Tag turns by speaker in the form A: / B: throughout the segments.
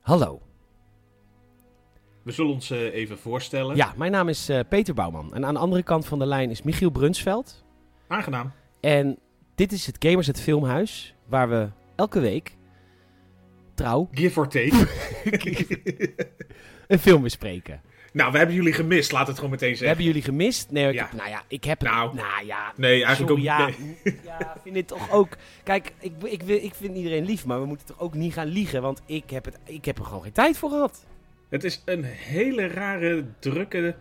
A: Hallo.
B: We zullen ons eh, even voorstellen.
A: Ja, mijn naam is eh, Peter Bouwman. En aan de andere kant van de lijn is Michiel Brunsveld.
B: Aangenaam.
A: En dit is het Gamers het Filmhuis, waar we elke week trouw
B: Give or take.
A: een film bespreken.
B: nou, we hebben jullie gemist, laat het gewoon meteen
A: We
B: zeggen.
A: hebben jullie gemist. Nee, ik
B: Ja.
A: heb, nou ja, ik heb het.
B: Nou.
A: Nou, ja.
B: Nee, eigenlijk
A: sorry, ja,
B: ook nee.
A: ja, vind dit toch ook. Kijk, ik, ik, wil- ik vind iedereen lief, maar we moeten toch ook niet gaan liegen, want ik heb, het, ik heb er gewoon geen tijd voor gehad.
B: Het is een hele rare, drukke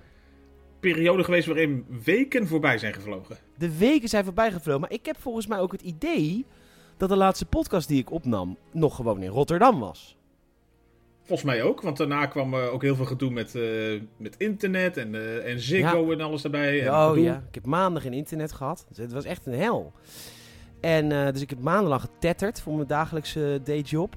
B: periode geweest waarin weken voorbij zijn gevlogen.
A: De weken zijn voorbij gevlogen, maar ik heb volgens mij ook het idee dat de laatste podcast die ik opnam nog gewoon in Rotterdam was.
B: Volgens mij ook, want daarna kwam eh, ook heel veel gedoe met, eh, met internet en, eh, en Ziggo en alles daarbij. En
A: oh
B: gedoe.
A: ja, ik heb maanden geen internet gehad. Dus het was echt een hel. En eh, dus ik heb maandenlang getetterd voor mijn dagelijkse dayjob.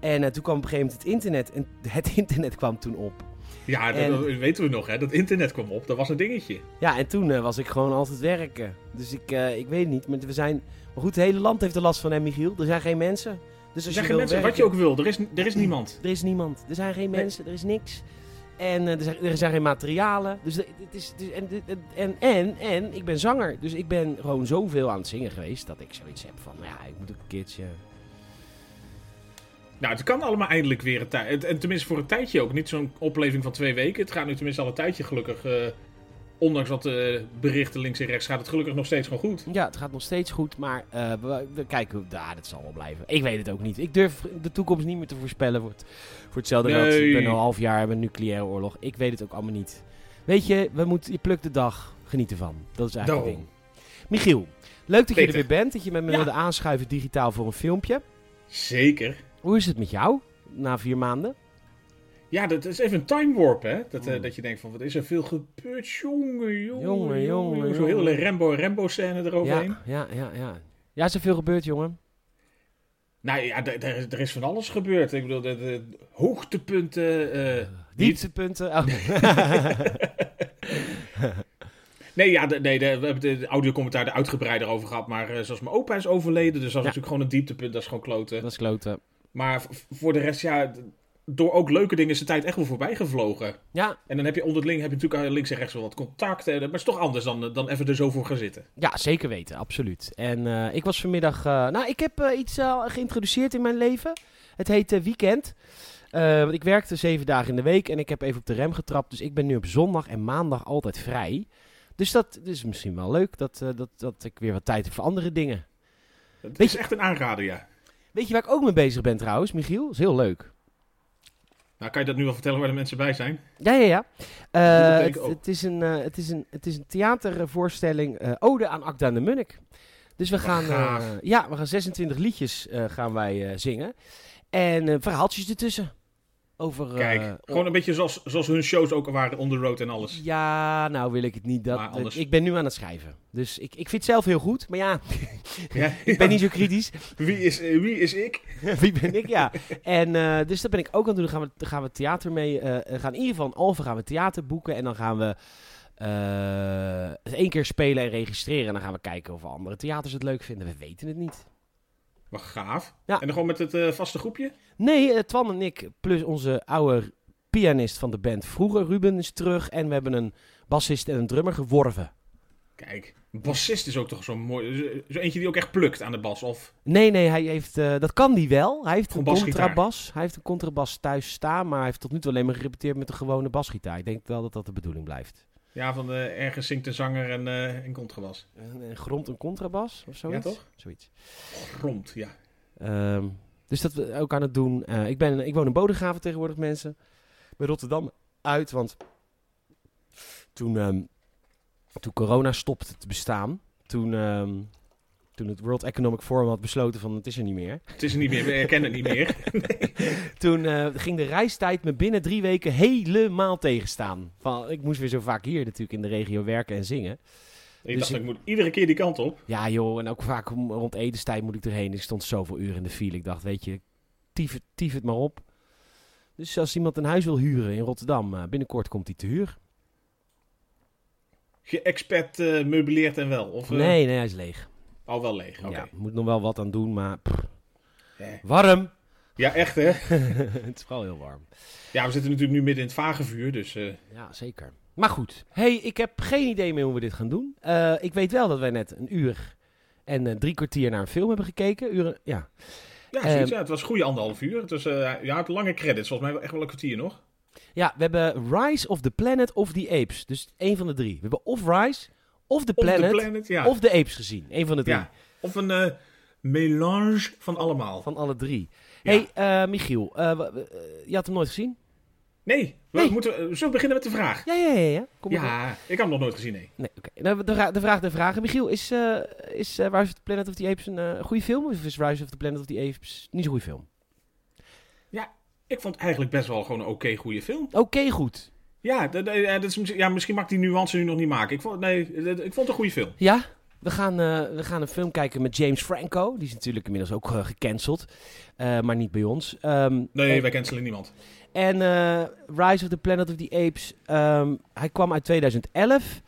A: En eh, toen kwam op een gegeven moment het internet. En het internet kwam toen op.
B: Ja, dat,
A: En-
B: dat weten we nog, hè. Dat internet kwam op, dat was een dingetje.
A: Ja, en toen eh, was ik gewoon altijd werken. Dus ik, eh, ik weet het niet. Maar we zijn. Maar goed, het hele land heeft er last van, hè, Michiel? Er zijn geen mensen. Dus
B: Er
A: als
B: zijn
A: je
B: geen
A: wil
B: mensen, wat
A: werken-
B: je ook wil, er is, er is niemand.
A: Er is niemand. Er zijn geen
B: Nee.
A: mensen. Er is niks. En eh, er, zijn, er zijn geen materialen. Dus er- het is, het is- en, dit- en, en, en ik ben zanger. Dus ik ben gewoon zoveel aan het zingen geweest dat ik zoiets heb van, nou ja, ik moet ook een keertje...
B: Nou, het kan allemaal eindelijk weer een tijd. En tenminste voor een tijdje ook. Niet zo'n opleving van twee weken. Het gaat nu tenminste al een tijdje gelukkig. eh, ondanks wat eh, berichten links en rechts gaat het gelukkig nog steeds gewoon goed.
A: Ja, het gaat nog steeds goed, maar eh, we, we kijken hoe... daar dat zal wel blijven. Ik weet het ook niet. Ik durf de toekomst niet meer te voorspellen voor, het, voor hetzelfde geld.
B: Nee.
A: Ik ben al een half jaar met een nucleaire oorlog. Ik weet het ook allemaal niet. Weet je, we moeten, je plukt de dag. Geniet ervan. Dat is eigenlijk het
B: Daarom.
A: ding. Michiel, leuk dat je er
B: Nou. Peter.
A: weer bent. Dat je met me
B: Ja.
A: wilde aanschuiven digitaal voor een filmpje.
B: Zeker.
A: Hoe is het met jou na vier maanden?
B: Ja, dat is even een time warp, hè? Dat, eh,
A: Mm.
B: dat je denkt van, wat is er veel gebeurd? Jongen,
A: Jongen,
B: jongen,
A: jongen,
B: jongen. Zo'n
A: jongen.
B: hele Rambo-Rambo-scène eroverheen.
A: Ja, ja, ja, ja. Ja, is er veel gebeurd, jongen?
B: Nou ja, d- d- er is van alles gebeurd. Ik bedoel, de, de hoogtepunten... eh,
A: Dieptepunten. Oh.
B: Nee, ja, de, nee de, we hebben de, de audiocommentaar er uitgebreider over gehad. Maar eh, zoals mijn opa is overleden, dus dat is natuurlijk gewoon een dieptepunt. Dat is gewoon kloten.
A: dat is kloten.
B: Maar v- voor de rest, ja, d- door ook leuke dingen is de tijd echt wel voorbij gevlogen.
A: Ja,
B: En dan heb je onderling heb je natuurlijk links en rechts wel wat contact. eh, Maar het is toch anders dan, eh, dan even er zo voor gaan zitten.
A: ja, zeker weten, absoluut. En eh, ik was vanmiddag... eh, nou, ik heb eh, iets eh, geïntroduceerd in mijn leven. Het heet eh, Weekend. Eh, want ik werkte zeven dagen in de week en ik heb even op de rem getrapt. Dus ik ben nu op zondag en maandag altijd vrij. Dus dat is misschien wel leuk, dat, eh, dat, dat ik weer wat tijd heb voor andere dingen.
B: Het
A: Weet
B: is echt een aanrader, ja.
A: Weet je waar ik ook mee bezig ben trouwens, Michiel? is heel leuk.
B: Nou, kan je dat nu wel vertellen waar de mensen bij zijn?
A: Ja, ja, ja.
B: Dat
A: Eh,
B: denk ik
A: het,
B: ook.
A: het is een, eh, het, is een, het is een theatervoorstelling eh, Ode aan Akda en de Munnik. Dus we gaan, eh,
B: gaaf.
A: ja, we gaan 26 liedjes eh, gaan wij eh, zingen. En eh, verhaaltjes ertussen. Over, eh,
B: Kijk, gewoon een beetje zoals, zoals hun shows ook waren, On The Road en alles.
A: Ja, nou wil ik het niet. Dat,
B: Maar anders-
A: Ik ben nu aan het schrijven. Dus ik, ik vind het zelf heel goed. Maar ja,
B: Ja,
A: ik ben niet zo kritisch.
B: wie, is, eh, wie is ik?
A: Wie ben ik? Ja. En eh, dus dat ben ik ook aan het doen. Dan gaan we, dan gaan we theater mee. eh, we gaan in ieder geval in Alphen gaan we theater boeken. En dan gaan we eh, één keer spelen en registreren. En dan gaan we kijken of andere theaters het leuk vinden. We weten het niet.
B: Wat gaaf.
A: Ja.
B: En dan gewoon met het eh, vaste groepje?
A: Nee, eh, Twan en ik, plus onze oude pianist van de band vroeger, Ruben, is terug. En we hebben een bassist en een drummer geworven.
B: Kijk, een bassist is ook toch zo'n mooi... zo- Zo eentje die ook echt plukt aan de bas, of...
A: Nee, nee, hij heeft, eh, dat kan die wel. Hij heeft een
B: Gewoon basgitaar.
A: contrabas. Hij heeft een contrabas thuis staan, maar hij heeft tot nu toe alleen maar gerepeteerd met een gewone basgitaar. Ik denk wel dat dat de bedoeling blijft.
B: Ja, van eh, ergens zingt een zanger en, eh en contrabas.
A: Een, een grond een contrabas of zoiets?
B: Ja, toch?
A: Zoiets.
B: Grond, ja.
A: Ehm, dus dat we ook aan het doen. Eh, ik, ben, ik woon in Bodegraven tegenwoordig, mensen. Bij Rotterdam uit, want toen, ehm, toen corona stopte te bestaan, toen, ehm, toen het World Economic Forum had besloten van het is er niet meer,
B: Het is er niet meer, we herkennen het niet meer.
A: toen eh, ging de reistijd me binnen drie weken helemaal tegenstaan. Van, ik moest weer zo vaak hier natuurlijk in de regio werken en zingen.
B: Ik
A: Dus
B: dacht,
A: ik-
B: ik moet iedere keer die kant op.
A: Ja, joh, en ook vaak om, rond etenstijd moet ik erheen. Ik stond zoveel uren in de file. Ik dacht, weet je, tief, het- tief het maar op. Dus als iemand een huis wil huren in Rotterdam, eh, binnenkort komt hij te huur.
B: Geëxpert eh meubileert en wel. Of, eh,
A: Nee, nee, hij is leeg.
B: Al wel leeg, oké.
A: Ja, moet nog wel wat aan doen, maar pff,
B: Eh,
A: warm.
B: Ja, echt hè?
A: het is vooral heel warm.
B: Ja, we zitten natuurlijk nu midden in het vagevuur, dus... eh,
A: Ja, zeker. Maar goed. hey, ik heb geen idee meer hoe we dit gaan doen. Eh, ik weet wel dat wij net een uur en eh, drie kwartier naar een film hebben gekeken. Uren, ja.
B: ja,
A: Ehm,
B: zoiets, ja, het was een goede anderhalf uur. Het was, eh, ja, het lange credits, volgens mij wel echt wel een kwartier nog.
A: ja, we hebben Rise of the Planet of the Apes. Dus één van de drie. We hebben of Rise, of the
B: Op
A: Planet,
B: de planet, ja.
A: of the Apes gezien. Eén van de drie.
B: ja. of een eh, melange van allemaal.
A: Van alle drie.
B: Ja.
A: hey, eh, Michiel, eh, w- w- eh, je had hem nooit gezien?
B: Nee, we
A: Nee.
B: moeten, eh, zullen we beginnen met de vraag?
A: Ja, ja, ja. ja. Kom maar op.
B: Ja, ik had hem nog nooit gezien, nee.
A: Nee, oké. Nou, de, vra- de vraag der vragen. Michiel, is, eh, is eh, Rise of the Planet of the Apes een eh, goede film? Of is Rise of the Planet of the Apes niet zo'n goede film?
B: Ik vond het eigenlijk best wel gewoon een oké goede film.
A: Oké, goed.
B: Ja, dat- eh, dat is, misschien- ja, misschien mag ik die nuance nu nog niet maken. Ik vond, nee, dat- ik vond het een goede film.
A: Ja, we gaan, eh, we gaan een film kijken met James Franco. Die is natuurlijk inmiddels ook eh, gecanceld. Eh, maar niet bij ons. Ehm,
B: Nee,
A: en-
B: wij cancelen niemand.
A: En eh, Rise of the Planet of the Apes. ehm, hij kwam uit 2011.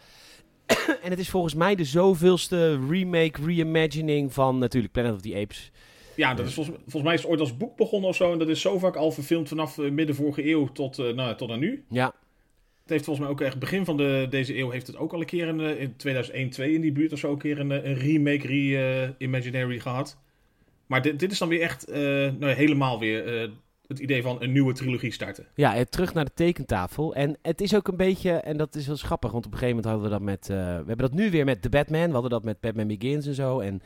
A: en het is volgens mij de zoveelste remake, reimagining van natuurlijk Planet of the Apes.
B: Ja, dat is volgens, volgens mij is het ooit als boek begonnen of zo. En dat is zo vaak al verfilmd vanaf eh, midden vorige eeuw tot, eh, nou, tot aan nu.
A: Ja,
B: Het heeft volgens mij ook echt begin van de, deze eeuw heeft het ook al een keer een, eh, in 2001, 2 in die buurt of zo een keer een, eh, een remake, re-imaginary gehad. Maar dit, dit is dan weer echt eh, nou, ja, helemaal weer eh, het idee van een nieuwe trilogie starten.
A: ja eh, terug naar de tekentafel. En het is ook een beetje, en dat is wel grappig, want op een gegeven moment hadden we dat met... eh, we hebben dat nu weer met The Batman. We hadden dat met Batman Begins en zo. En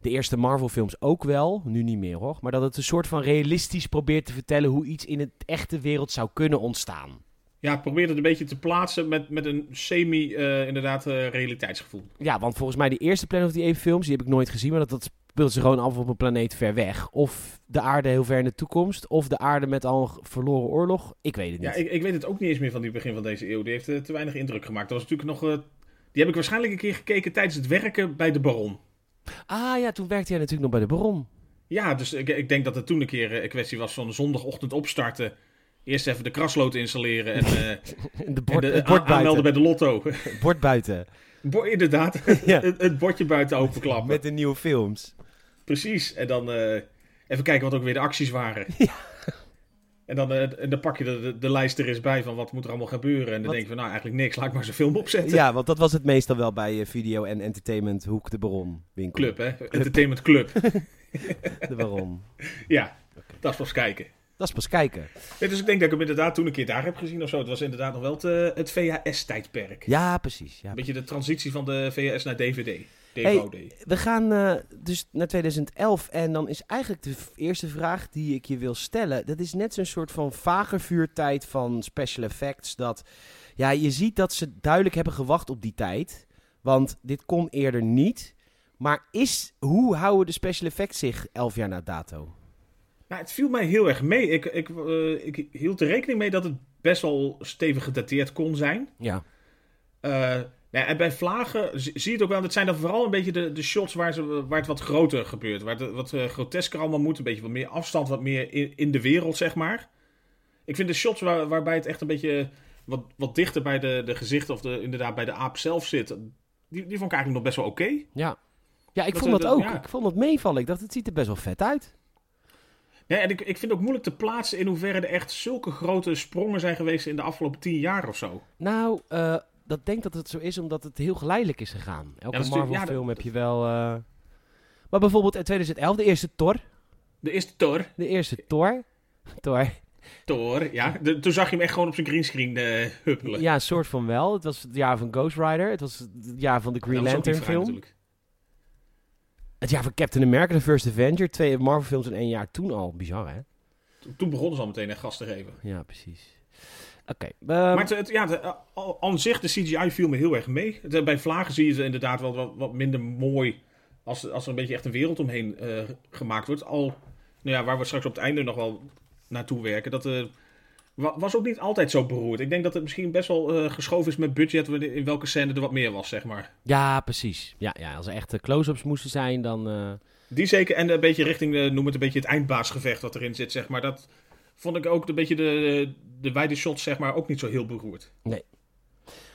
A: de eerste Marvel films ook wel. Nu niet meer hoor. Maar dat het een soort van realistisch probeert te vertellen hoe iets in het echte wereld zou kunnen ontstaan.
B: Ja, probeer het een beetje te plaatsen met, met een semi eh, inderdaad eh, realiteitsgevoel.
A: Ja, want volgens mij de eerste Planet of the Apes films, die heb ik nooit gezien, maar dat, dat speelt ze gewoon af op een planeet ver weg. Of de aarde heel ver in de toekomst, of de aarde met al een g- verloren oorlog. Ik weet het niet.
B: Ja, ik, ik weet het ook niet eens meer van die begin van deze eeuw. Die heeft eh, te weinig indruk gemaakt. Dat was natuurlijk nog. eh, die heb ik waarschijnlijk een keer gekeken tijdens het werken bij de Baron.
A: Ah ja, toen werkte hij natuurlijk nog bij de Baron.
B: Ja, dus ik, ik denk dat het toen een keer eh, een kwestie was van zondagochtend opstarten. Eerst even de kraslood installeren en, eh, en
A: De bord,
B: de,
A: het
B: a-
A: bord buiten.
B: aanmelden bij de lotto.
A: Het bord buiten.
B: Bo- inderdaad,
A: Ja.
B: het, het bordje buiten openklappen.
A: Met de nieuwe films.
B: Precies, en dan eh, even kijken wat ook weer de acties waren. En dan, eh, en dan pak je de, de, de lijst er eens bij van wat moet er allemaal gebeuren. En dan
A: Wat-
B: denk je van nou eigenlijk niks, laat ik maar zo'n film opzetten.
A: Ja, want dat was het meestal wel bij eh, video en entertainment hoek de Baron winkel.
B: Club hè, Entertainment Club.
A: De Baron.
B: Ja, dat is pas kijken.
A: Dat is pas kijken.
B: Ja, dus ik denk dat ik hem inderdaad toen een keer daar heb gezien of zo. Het was inderdaad nog wel het, eh, het VHS-tijdperk.
A: Ja, precies. Ja.
B: Een beetje de transitie van de VHS naar DVD.
A: Hey.
B: DVD.
A: We gaan eh, dus naar 2011 en dan is eigenlijk de v- eerste vraag die ik je wil stellen. Dat is net zo'n soort van vage vuurtijd van special effects. Dat ja, je ziet dat ze duidelijk hebben gewacht op die tijd. Want dit kon eerder niet. Maar is, hoe houden de special effects zich 11 jaar na dato?
B: Nou, het viel mij heel erg mee. Ik, ik, eh, ik hield er rekening mee dat het best wel stevig gedateerd kon zijn.
A: Ja.
B: Eh, nou ja, en bij vlagen zie zie je het ook wel. Dat zijn dan vooral een beetje de, de shots waar, ze, waar het wat groter gebeurt. Waar het wat eh, grotesker allemaal moet. Een beetje wat meer afstand, wat meer in, in de wereld, zeg maar. Ik vind de shots waar, waarbij het echt een beetje wat, wat dichter bij de, de gezichten... of de, inderdaad bij de aap zelf zit... die, die vond ik eigenlijk nog best wel oké.
A: Ja. Ja, ik
B: Dat-
A: vond dat,
B: dat-
A: ook.
B: ja.
A: Ik vond dat meevallen. Ik dacht, het ziet er best wel vet uit.
B: Ja, en ik, ik vind het ook moeilijk te plaatsen in hoeverre er echt zulke grote sprongen zijn geweest in de afgelopen tien jaar of zo.
A: Nou, eh, dat denk dat het zo is omdat het heel geleidelijk is gegaan. Elke
B: Ja, dat is natuurlijk- ja,
A: Marvel-film heb je wel. eh, Maar bijvoorbeeld in 2011, de eerste Thor.
B: De eerste Thor,
A: De eerste Thor. Thor.
B: Thor, ja. de- toen zag je hem echt gewoon op zijn greenscreen eh huppelen.
A: Ja, een soort van wel. Het was het jaar van Ghost Rider. Het was het jaar van de
B: Dat
A: Green
B: was ook niet
A: Lantern
B: vrij
A: film.
B: natuurlijk.
A: Het jaar van Captain America, de First Avenger. Twee Marvel films in één jaar toen al. Bizar, hè?
B: Toen- Toen begonnen ze al meteen echt gas te geven.
A: Ja, precies. Oké.
B: maar
A: ehm,
B: het, het- ja, het, eh, al- aan zich, de CGI viel me heel erg mee. Het, eh, bij vlagen zie je ze inderdaad wel wat, wat minder mooi. Als, als er een beetje echt een wereld omheen eh, gemaakt wordt. Al, nou ja, waar we straks op het einde nog wel naartoe werken. Dat eh, wa- was ook niet altijd zo beroerd. Ik denk dat het misschien best wel eh, geschoven is met budget. wanneer- In welke scène er wat meer was, zeg maar.
A: Ja, precies. Ja, ja, als er echte close-ups moesten zijn, dan... eh,
B: Die zeker. En een beetje richting, de, noem het een beetje het eindbaasgevecht wat erin zit, zeg maar. Dat vond ik ook een beetje de, de wijde shots, zeg maar, ook niet zo heel beroerd.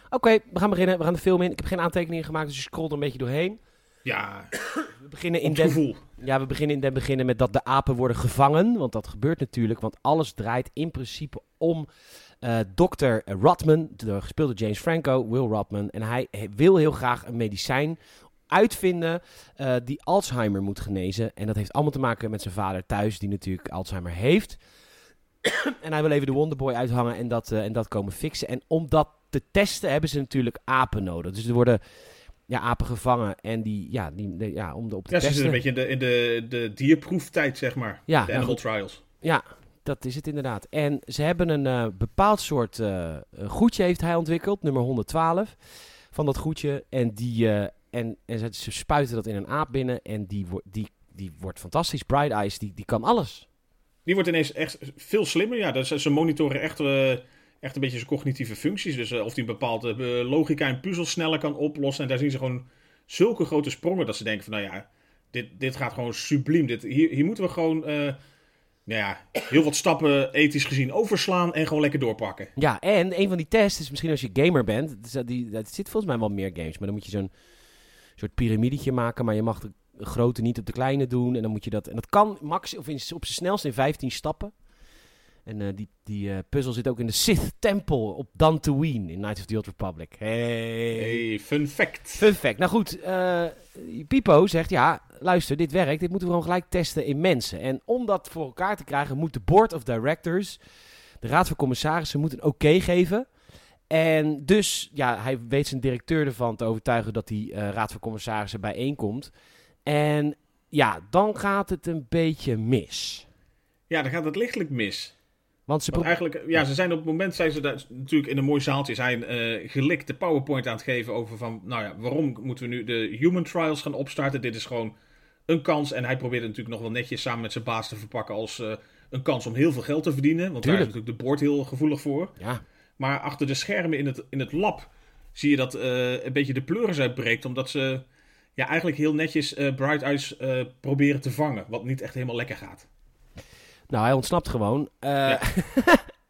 A: Oké, we gaan beginnen. We gaan de film in. Ik heb geen aantekeningen gemaakt, dus je scrolt er een beetje doorheen.
B: Ja,
A: We beginnen in
B: het
A: Den
B: gevoel.
A: Ja, we beginnen in den beginnen met dat de apen worden gevangen. Want dat gebeurt natuurlijk, want alles draait in principe om eh dokter Rodman, door- gespeeld door James Franco, Will Rodman. En hij he- wil heel graag een medicijn uitvinden eh, die Alzheimer moet genezen. En dat heeft allemaal te maken met zijn vader thuis, die natuurlijk Alzheimer heeft. en hij wil even de Wonderboy uithangen en dat, eh, en dat komen fixen. En om dat te testen hebben ze natuurlijk apen nodig. Dus er worden ja, apen gevangen en die, ja, die, die- ja om de, op te
B: Ja, ze
A: testen.
B: zitten een beetje in de, in de, de dierproeftijd, zeg maar.
A: Ja, nou
B: de animal
A: goed,
B: trials.
A: dat is het inderdaad. En ze hebben een eh, bepaald soort eh, goedje heeft hij ontwikkeld, nummer 112 van dat goedje. En, die, eh, en, en ze- ze spuiten dat in een aap binnen en die, wo- die, die wordt fantastisch. Bright Eyes, die, die kan alles.
B: Die wordt ineens echt veel slimmer. Ja, dat ze ze monitoren echt, eh, echt een beetje zijn cognitieve functies. Dus eh, of die een bepaalde eh, logica en puzzels sneller kan oplossen. En daar zien ze gewoon zulke grote sprongen dat ze denken van... Nou ja, dit, dit gaat gewoon subliem. Dit, hier, hier moeten we gewoon... eh, nou ja, heel wat stappen ethisch gezien overslaan en gewoon lekker doorpakken.
A: Ja, en een van die tests is misschien als je gamer bent. het is dat die, dat zit volgens mij wel meer games. Maar dan moet je zo'n soort piramidetje maken. Maar je mag de grote niet op de kleine doen. En dan moet je dat. En dat kan max of in, op zijn snelst in 15 stappen. En eh, die, die eh, puzzel zit ook in de Sith-tempel op Dantooine in Knights of the Old Republic. Hey.
B: Hey, fun fact.
A: Eh. Fun fact. Nou goed, eh, Pipo zegt ja, luister, dit werkt. Dit moeten we gewoon gelijk testen in mensen. En om dat voor elkaar te krijgen, moet de board of directors, de raad van commissarissen, moet een oké geven. En dus, ja, hij weet zijn directeur ervan te overtuigen dat die eh, raad van commissarissen bijeenkomt. En ja, dan gaat het een beetje mis.
B: Ja, dan gaat het lichtelijk mis.
A: Want ze
B: Want
A: pro-
B: eigenlijk, ja, ze zijn op het moment zijn ze daar natuurlijk in een mooi zaaltje zijn eh, gelikt de PowerPoint aan het geven over van, nou ja, waarom moeten we nu de human trials gaan opstarten? Dit is gewoon een kans. En hij probeerde natuurlijk nog wel netjes samen met zijn baas te verpakken als eh, een kans om heel veel geld te verdienen. Want daar
A: Tuurlijk.
B: is natuurlijk de board heel gevoelig voor.
A: ja,
B: Maar achter de schermen in het, in het lab zie je dat eh, een beetje de pleuris uitbreekt, omdat ze ja, eigenlijk heel netjes eh, Bright Eyes eh, proberen te vangen, wat niet echt helemaal lekker gaat.
A: nou, hij ontsnapt gewoon. Eh,
B: Ja.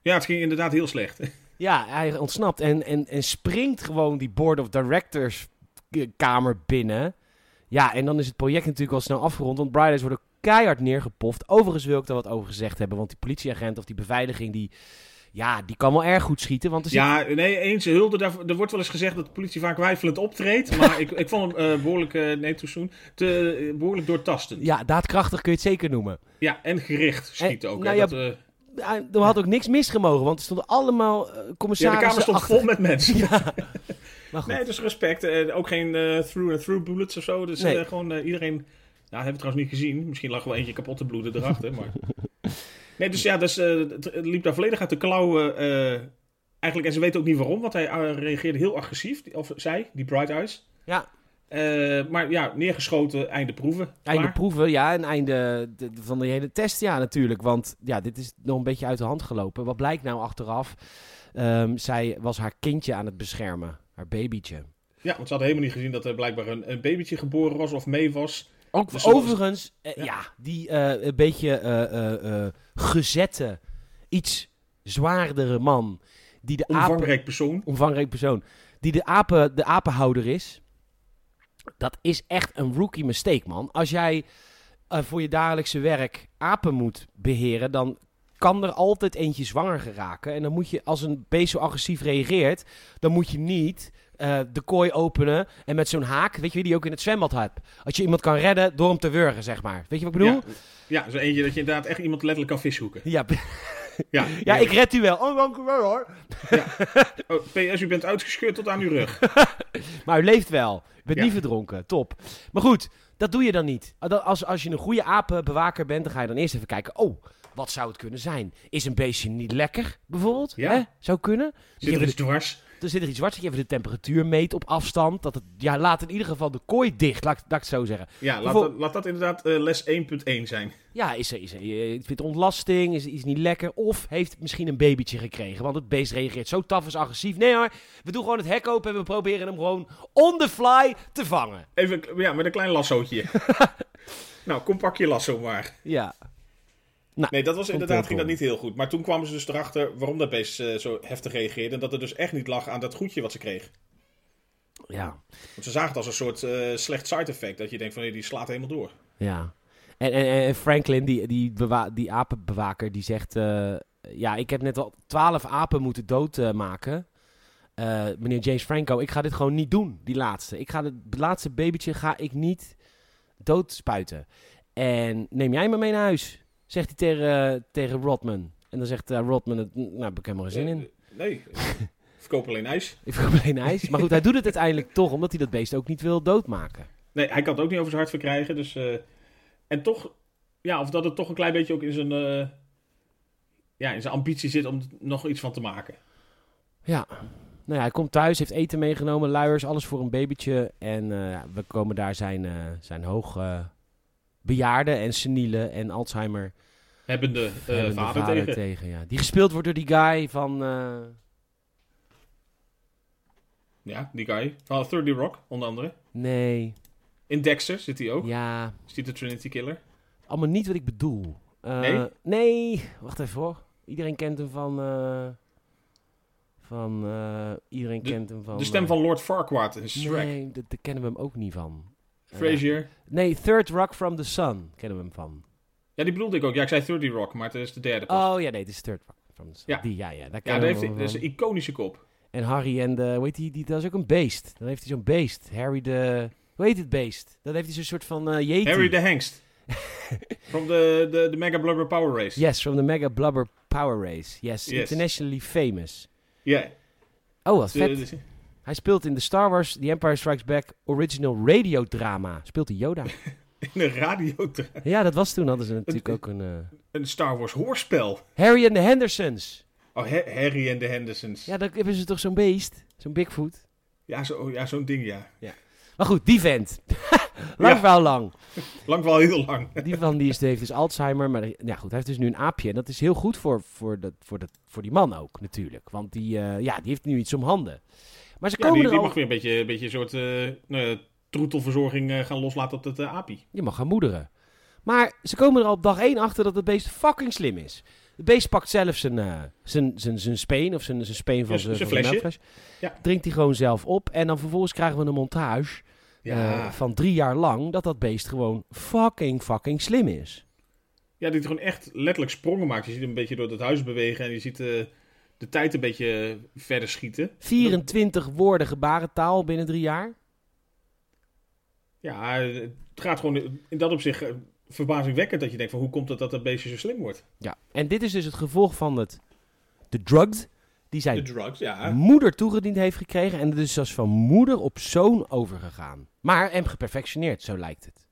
B: Ja, het ging inderdaad heel slecht.
A: Ja, hij ontsnapt en, en, en springt gewoon die board of directors eh, kamer binnen. Ja, en dan is het project natuurlijk al snel afgerond, want Briders worden keihard neergepoft. Overigens wil ik daar wat over gezegd hebben, want die politieagent of die beveiliging, die, ja, die kan wel erg goed schieten. Want er zit-
B: Ja, nee, eens hulde. daarvoor- Er wordt wel eens gezegd dat de politie vaak weifelend optreedt. Maar ik, ik vond hem eh, behoorlijk, eh, nee, too soon, te, eh, behoorlijk doortastend.
A: ja, daadkrachtig kun je het zeker noemen.
B: Ja, en gericht schiet
A: En,
B: ook.
A: nou
B: hè,
A: ja,
B: dat, eh,
A: Ah, Er had ook niks misgemogen, want er stonden allemaal eh,
B: ja, de
A: commissarissen
B: kamer stond
A: achter.
B: vol met mensen.
A: Ja. Maar goed.
B: Nee, dus respect. Eh, ook geen through-and-through bullets of zo. Dus
A: Nee.
B: eh, gewoon eh, iedereen... Nou, hebben we trouwens niet gezien. Misschien lag wel eentje kapot te bloeden erachter. Maar... Nee, dus ja, dus, eh, het, het liep daar volledig uit de klauwen. eh, eigenlijk, en ze weten ook niet waarom, want hij eh, reageerde heel agressief. die- Of zij, die Bright Eyes.
A: Ja.
B: Eh, maar ja, neergeschoten, einde proeven.
A: Einde
B: Klaar.
A: proeven, ja, en einde de- de- van die hele test, ja, natuurlijk. Want ja, dit is nog een beetje uit de hand gelopen. Wat blijkt nou achteraf? Ehm, zij was haar kindje aan het beschermen, haar babytje.
B: Ja, want ze hadden helemaal niet gezien dat er blijkbaar een, een babytje geboren was of mee was.
A: Ook
B: Dus ze was-
A: overigens, eh, ja.
B: Ja.
A: die eh, een beetje eh, eh, eh, gezette, iets zwaardere man, die de apen,
B: Omvangrijk persoon.
A: omvangrijk persoon, die de, apen, de apenhouder is. Dat is echt een rookie mistake, man. Als jij eh, voor je dagelijkse werk apen moet beheren, dan kan er altijd eentje zwanger geraken. En dan moet je, als een beest zo agressief reageert, dan moet je niet eh, de kooi openen en met zo'n haak, weet je wie die je ook in het zwembad had. Als je iemand kan redden door hem te wurgen, zeg maar. Weet je wat ik bedoel?
B: Ja, ja, zo eentje dat je inderdaad echt iemand letterlijk kan vishoeken.
A: Ja,
B: Ja,
A: ja ik red u wel. Oh, dank u wel hoor.
B: Oh, PS, u bent uitgescheurd tot aan uw rug.
A: Maar u leeft wel. U bent
B: Ja.
A: niet verdronken. Top. Maar goed, dat doe je dan niet. Ah, Dat- Als, als je een goede apenbewaker bent, dan ga je dan eerst even kijken. Oh, wat zou het kunnen zijn? Is een beestje niet lekker, bijvoorbeeld?
B: Ja.
A: Hè? Zou kunnen.
B: Zit er iets dwars?
A: Er zit er iets zwart. Dat je even de temperatuur meet op afstand. Dat het, ja, laat in ieder geval de kooi dicht. Laat, ik- laat ik het zo zeggen.
B: Ja, laat,
A: Bijvoorbeeld-
B: dat- laat dat inderdaad eh, les 1.1 zijn.
A: Ja, is er, is er eh, iets met ontlasting? Is er iets niet lekker? Of heeft het misschien een babytje gekregen? Want het beest reageert zo taf is agressief. Nee hoor, we doen gewoon het hek open en we proberen hem gewoon on the fly te vangen.
B: Even, ja, met een klein lassootje. nou, kom pak je lasso maar.
A: Ja.
B: Nee, dat was inderdaad, ging dat
A: Tom.
B: niet heel goed. Maar toen kwamen ze dus erachter waarom dat beest eh, zo heftig reageerde. En dat het dus echt niet lag aan dat goedje wat ze kreeg.
A: Ja,
B: Want ze zagen het als een soort eh, slecht side effect. Dat je denkt van nee, die slaat helemaal door.
A: ja. En, en, en Franklin, die, die, bewa- die apenbewaker, die zegt... eh, ja, ik heb net al twaalf apen moeten doodmaken. Eh, meneer James Franco, ik ga dit gewoon niet doen, die laatste. Ik ga het laatste babytje ga ik niet doodspuiten. En neem jij me mee naar huis, zegt hij tegen, tegen Rodman. En dan zegt eh, Rodman, het, nou, heb ik helemaal geen zin
B: Eh,
A: in.
B: Nee. Verkoop alleen ijs.
A: Ik wil alleen ijs. Maar goed, hij doet het uiteindelijk toch, omdat hij dat beest ook niet wil doodmaken.
B: Nee, hij kan het ook niet over zijn hart verkrijgen. Dus, eh, en toch, ja, of dat het toch een klein beetje ook in zijn, eh, ja, in zijn ambitie zit om er nog iets van te maken.
A: Ja. Nou ja, hij komt thuis, heeft eten meegenomen, luiers, alles voor een babytje. En eh, ja, we komen daar zijn, eh, zijn hoog eh, bejaarde en seniele en Alzheimer
B: Hebbende, eh,
A: hebbende
B: vader, tegen.
A: ja. Die gespeeld wordt door die guy van... eh,
B: Ja, die guy. Van 30 Rock, onder andere.
A: nee,
B: In Dexter zit hij ook.
A: ja,
B: Is die de Trinity Killer?
A: allemaal niet wat ik bedoel. Eh,
B: Nee?
A: Nee, wacht even hoor. Iedereen kent hem van... eh, van eh, iedereen kent hem van...
B: de stem
A: eh,
B: van Lord Farquaad in Shrek.
A: Nee, dat- daar kennen we hem ook niet van. Eh,
B: Frasier.
A: nee, Third Rock from the Sun kennen we hem van.
B: Ja, die bedoelde ik ook. Ja, ik zei 30 Rock, maar het is de derde pas.
A: Oh ja, nee, het is Third Rock from the Sun.
B: Ja.
A: Die, ja, ja, daar
B: ja,
A: kennen
B: daar
A: we
B: heeft
A: hem
B: hij, dus dat is
A: van.
B: een iconische kop.
A: En Harry en de, hoe heet die, die, dat is ook een beest. Dan heeft hij zo'n beest. Harry de, hoe heet het beest? Dan heeft hij zo'n soort van eh Yeti.
B: Harry de Hengst. From the, the, the Mega Blubber Power Race. Ja.
A: Yes, from the Mega Blubber Power Race. Yes,
B: Yes.
A: internationally famous.
B: Ja.
A: Oh, wat
B: de-
A: vet.
B: de-
A: Hij speelt in de Star Wars The Empire Strikes Back original radiodrama. Speelt hij Yoda.
B: In een radio.
A: ja, dat was toen, hadden ze natuurlijk ook een... eh,
B: Een Star Wars hoorspel.
A: Harry en de Hendersons.
B: Oh, Ha- Harry en de Hendersons. Ja,
A: Ja, dan hebben ze toch zo'n beest. Zo'n Bigfoot.
B: zo, ja zo'n ding, ja.
A: Maar goed, die vent. lang
B: Ja.
A: verhaal lang.
B: Lang wel heel lang.
A: Die van die is, heeft dus Alzheimer. Maar ja, goed, hij heeft dus nu een aapje. En dat is heel goed voor, voor, dat, voor, dat, voor die man ook natuurlijk. Want die, eh, ja, die heeft nu iets om handen. Maar ze
B: Ja,
A: komen
B: die,
A: er
B: die
A: al...
B: mag weer een beetje een, beetje een soort eh, nou ja, troetelverzorging eh, gaan loslaten op dat eh, api.
A: Je mag gaan moederen. Maar ze komen er al op dag één achter dat het beest fucking slim is. Het beest pakt zelf zijn, eh, zijn, zijn, zijn speen, of zijn, zijn speen van
B: Ja,
A: zijn
B: zijn
A: van zijn
B: flesje.
A: melkfles.
B: Ja.
A: Drinkt hij gewoon zelf op. En dan vervolgens krijgen we een montage
B: Ja.
A: eh, van drie jaar lang dat dat beest gewoon fucking fucking slim is.
B: ja, die gewoon echt letterlijk sprongen maakt. Je ziet hem een beetje door het huis bewegen en je ziet eh, de tijd een beetje eh, verder schieten.
A: 24 woorden gebarentaal binnen drie jaar.
B: Ja, eh, het gaat gewoon in dat opzicht eh, verbazingwekkend dat je denkt van hoe komt het dat dat beestje zo slim wordt?
A: Ja. En dit is dus het gevolg van het, de drugs die
B: De
A: zijn
B: drugs, ja.
A: moeder toegediend heeft gekregen. En dus als van moeder op zoon overgegaan. Maar hem geperfectioneerd, zo lijkt het.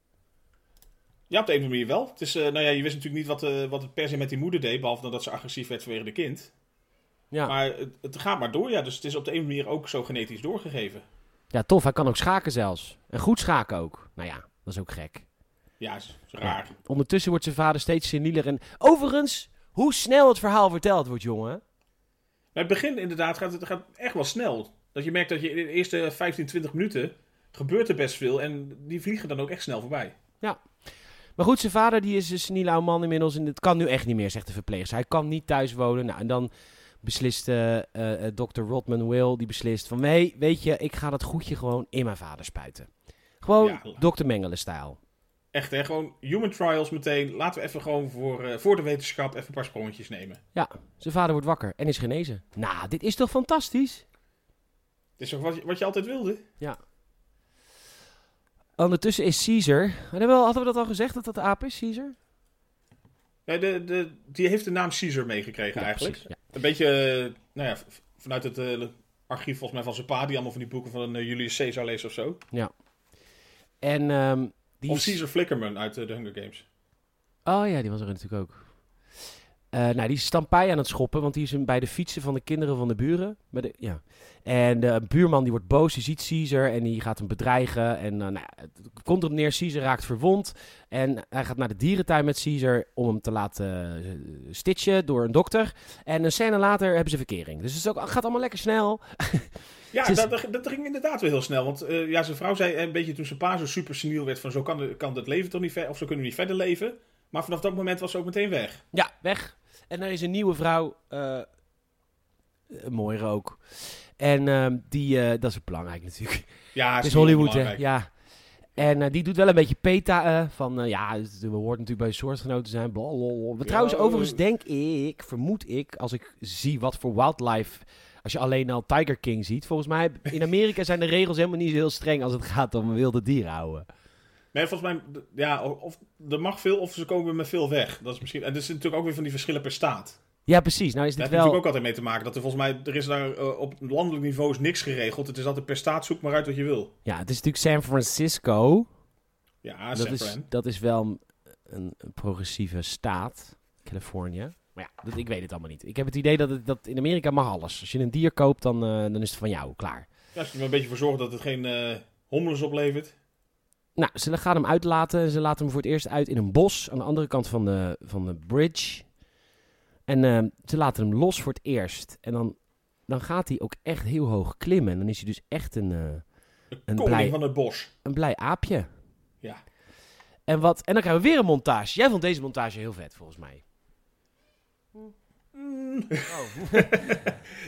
B: Ja, op de een of andere manier wel. Het is, eh, nou ja, je wist natuurlijk niet wat, eh, wat het per se met die moeder deed, behalve dan dat ze agressief werd vanwege de kind.
A: Ja.
B: Maar het, het gaat maar door, ja. Dus het is op de een of andere manier ook zo genetisch doorgegeven.
A: ja, tof. Hij kan ook schaken zelfs. En goed schaken ook. Nou ja, dat is ook gek.
B: Ja, is, is raar.
A: Ondertussen wordt zijn vader steeds senieler. En overigens, hoe snel het verhaal verteld wordt, jongen.
B: Maar het begin inderdaad gaat, het gaat echt wel snel. Dat je merkt dat je in de eerste 15, 20 minuten gebeurt er best veel. En die vliegen dan ook echt snel voorbij.
A: Maar goed, zijn vader die is een seniele oude man inmiddels. En het kan nu echt niet meer, zegt de verpleegster. Hij kan niet thuis wonen. Nou, en dan beslist eh dokter Rodman Will, die beslist van... Nee, weet je, ik ga dat goedje gewoon in mijn vader spuiten. Gewoon
B: Ja.
A: dokter Mengele-stijl.
B: Echt hè, gewoon human trials meteen. Laten we even gewoon voor, eh, voor de wetenschap even een paar sprongetjes nemen.
A: Ja, zijn vader wordt wakker en is genezen. Nou, dit is toch fantastisch?
B: Het is toch wat, je- wat je altijd wilde?
A: Ondertussen is Caesar... Hadden we, al- hadden we dat al gezegd, dat dat de aap is, Caesar?
B: Nee, de, de, die heeft de naam Caesar meegekregen
A: Ja,
B: eigenlijk.
A: precies, ja.
B: Een beetje, eh, nou ja, v- vanuit het eh, archief volgens mij van zijn pa, die allemaal van die boeken van eh, Julius Caesar leest of zo.
A: En ehm, die...
B: Of Caesar Flickerman uit eh, de Hunger Games.
A: Oh ja, die was er natuurlijk ook. Eh, nou, die is stampij aan het schoppen, want die is hem bij de fietsen van de kinderen van de buren. Bij de, ja. En de buurman die wordt boos, die ziet Caesar en die gaat hem bedreigen. En eh, nou, ja, het komt erop neer, Caesar raakt verwond. En hij gaat naar de dierentuin met Caesar om hem te laten eh, stitchen door een dokter. En een scène later hebben ze verkering. Dus het is ook, gaat allemaal lekker snel.
B: Ja,
A: Het is-
B: dat, dat, dat ging inderdaad wel heel snel. Want eh, ja, zijn vrouw zei een beetje toen zijn pa zo super seniel werd van zo kan, kan dat leven toch niet verder, of zo kunnen we niet verder leven. Maar vanaf dat moment was ze ook meteen weg.
A: Ja, weg. En dan is een nieuwe vrouw, eh, eh, mooier ook. En ehm, die, eh, dat is belangrijk natuurlijk.
B: Ja,
A: Het is
B: heel
A: Hollywood, hè?
B: belangrijk.
A: Ja. En eh, die doet wel een beetje PETA eh, van, eh, ja, het- we hoort natuurlijk bij soortgenoten te zijn, blablabla. Maar
B: Ja.
A: Trouwens, overigens denk ik, vermoed ik, als ik zie wat voor wildlife, als je alleen al Tiger King ziet, volgens mij, in Amerika zijn de regels helemaal niet zo heel streng als het gaat om wilde dieren houden.
B: Nee, volgens mij, d- ja, of, of- er mag veel of ze komen met veel weg. Dat is misschien, en er zit natuurlijk ook weer van die verschillen per staat.
A: Ja, precies. Nou is
B: Daar
A: dit
B: heeft
A: wel...
B: natuurlijk ook altijd mee te maken. Dat er volgens mij, er is daar eh, op landelijk niveau is niks geregeld. Het is altijd per staat, zoek maar uit wat je wil.
A: Ja, het is natuurlijk San Francisco.
B: Ja,
A: dat,
B: San
A: is,
B: Fran.
A: dat is wel een, een progressieve staat, Californië. Maar ja, dat, ik weet het allemaal niet. Ik heb het idee dat, het, dat in Amerika mag alles. Als je een dier koopt, dan, eh, dan is het van jou, klaar.
B: Ja, als je er maar een beetje voor zorgt dat het geen eh homeless oplevert.
A: Nou, ze gaan hem uitlaten. en Ze laten hem voor het eerst uit in een bos aan de andere kant van de, van de bridge. En eh, ze laten hem los voor het eerst. En dan, dan gaat hij ook echt heel hoog klimmen. En dan is hij dus echt een, eh,
B: De
A: Een
B: koning
A: blij-
B: van het bos.
A: een blij aapje.
B: Ja.
A: En, wat, en dan krijgen we weer een montage. Jij vond deze montage heel vet, volgens mij. Oh.
B: Mm.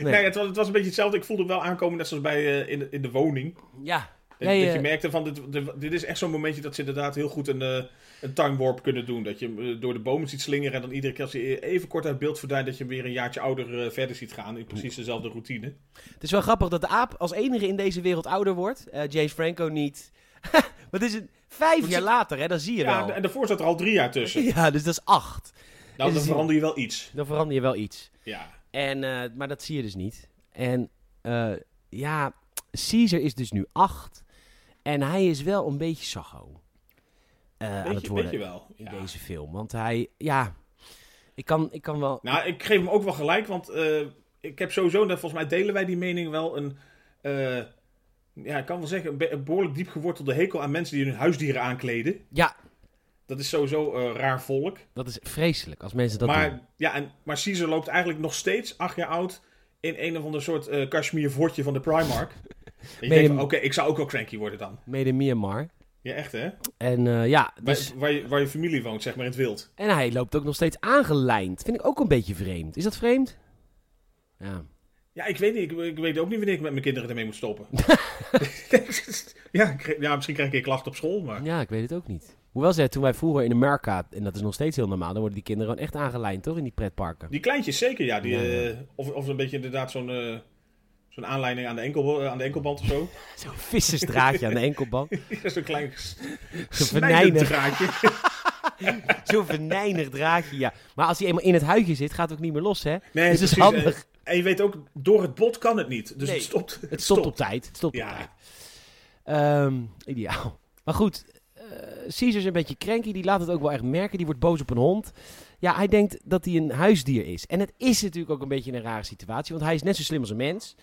B: Nee.
A: Nee.
B: het, was, het was een beetje hetzelfde. Ik voelde het wel aankomen, net zoals bij eh, in, de- in de woning.
A: Ja.
B: Dat,
A: Nee,
B: dat je
A: eh,
B: merkte van, dit, dit- dit is echt zo'n momentje dat ze inderdaad heel goed een, eh, een time warp kunnen doen. Dat je hem eh, door de bomen ziet slingeren en dan iedere keer als hij eh, even kort uit beeld verdwijnt, dat je hem weer een jaartje ouder eh, verder ziet gaan. In precies dezelfde routine.
A: Het is wel grappig dat de aap als enige in deze wereld ouder wordt. Eh James Franco niet. Wat is het? Vijf
B: het-
A: jaar later, hè? Dat zie je
B: Ja,
A: wel.
B: en daarvoor zat er al drie jaar tussen.
A: Ja, dus dat is acht.
B: Nou,
A: is
B: dan
A: het-
B: verander je wel iets.
A: Dan verander je wel iets.
B: Ja.
A: En, eh, maar dat zie je dus niet. En eh, ja, Caesar is dus nu acht. En hij is wel een beetje sacho. eh, aan het
B: Weet je, weet
A: worden
B: je wel.
A: in
B: Ja.
A: deze film. Want hij, ja... Ik kan, ik kan wel...
B: Nou, ik geef hem ook wel gelijk, want eh, ik heb sowieso, en volgens mij delen wij die mening wel een. eh, ja, ik kan wel zeggen, een, be- een behoorlijk diep gewortelde hekel aan mensen die hun huisdieren aankleden.
A: Ja,
B: Dat is sowieso eh, raar volk.
A: dat is vreselijk als mensen dat doen.
B: maar, ja, en, maar Caesar loopt eigenlijk nog steeds, acht jaar oud, in een of ander soort eh cashmere vortje van de Primark. en je denkt van,
A: hem-
B: oké, ik zou ook wel cranky worden dan.
A: Mede in Myanmar.
B: Ja, echt hè?
A: En eh, ja,
B: Waar,
A: dus...
B: waar, je, waar je familie woont, zeg maar, in het wild.
A: En hij loopt ook nog steeds aangelijnd. Vind ik ook een beetje vreemd. Is dat vreemd? Ja.
B: Ja, ik weet niet. Ik, ik weet ook niet wanneer ik met mijn kinderen ermee moet stoppen. ja, ik kreeg- ja, misschien krijg ik een klacht op school, maar...
A: Ja, ik weet het ook niet. Hoewel ze, toen wij vroeger in Amerika, en dat is nog steeds heel normaal, dan worden die kinderen gewoon echt aangelijnd, toch? In die pretparken.
B: Die kleintjes zeker, ja. Die,
A: Ja, ja.
B: eh, of, of een beetje inderdaad zo'n eh, zo'n aanleiding aan de, enkel, eh, aan de enkelband of zo.
A: Zo'n vissenstraatje aan de enkelband.
B: zo'n klein s-
A: venijnig.
B: snijdend draadje.
A: Zo'n venijnig draadje, ja. Maar als hij eenmaal in het huidje zit, gaat het ook niet meer los, hè?
B: Nee,
A: dus dat is
B: precies,
A: handig.
B: eh, En je weet ook, door het bot kan het niet. Dus
A: Nee,
B: het stopt.
A: Het stopt op tijd. Het stopt op tijd.
B: Ja,
A: Ehm, ideaal. Maar goed, eh Caesar is een beetje cranky. Die laat het ook wel echt merken. Die wordt boos op een hond. Ja, hij denkt dat hij een huisdier is. En het is natuurlijk ook een beetje een rare situatie. Want hij is net zo slim als een mens.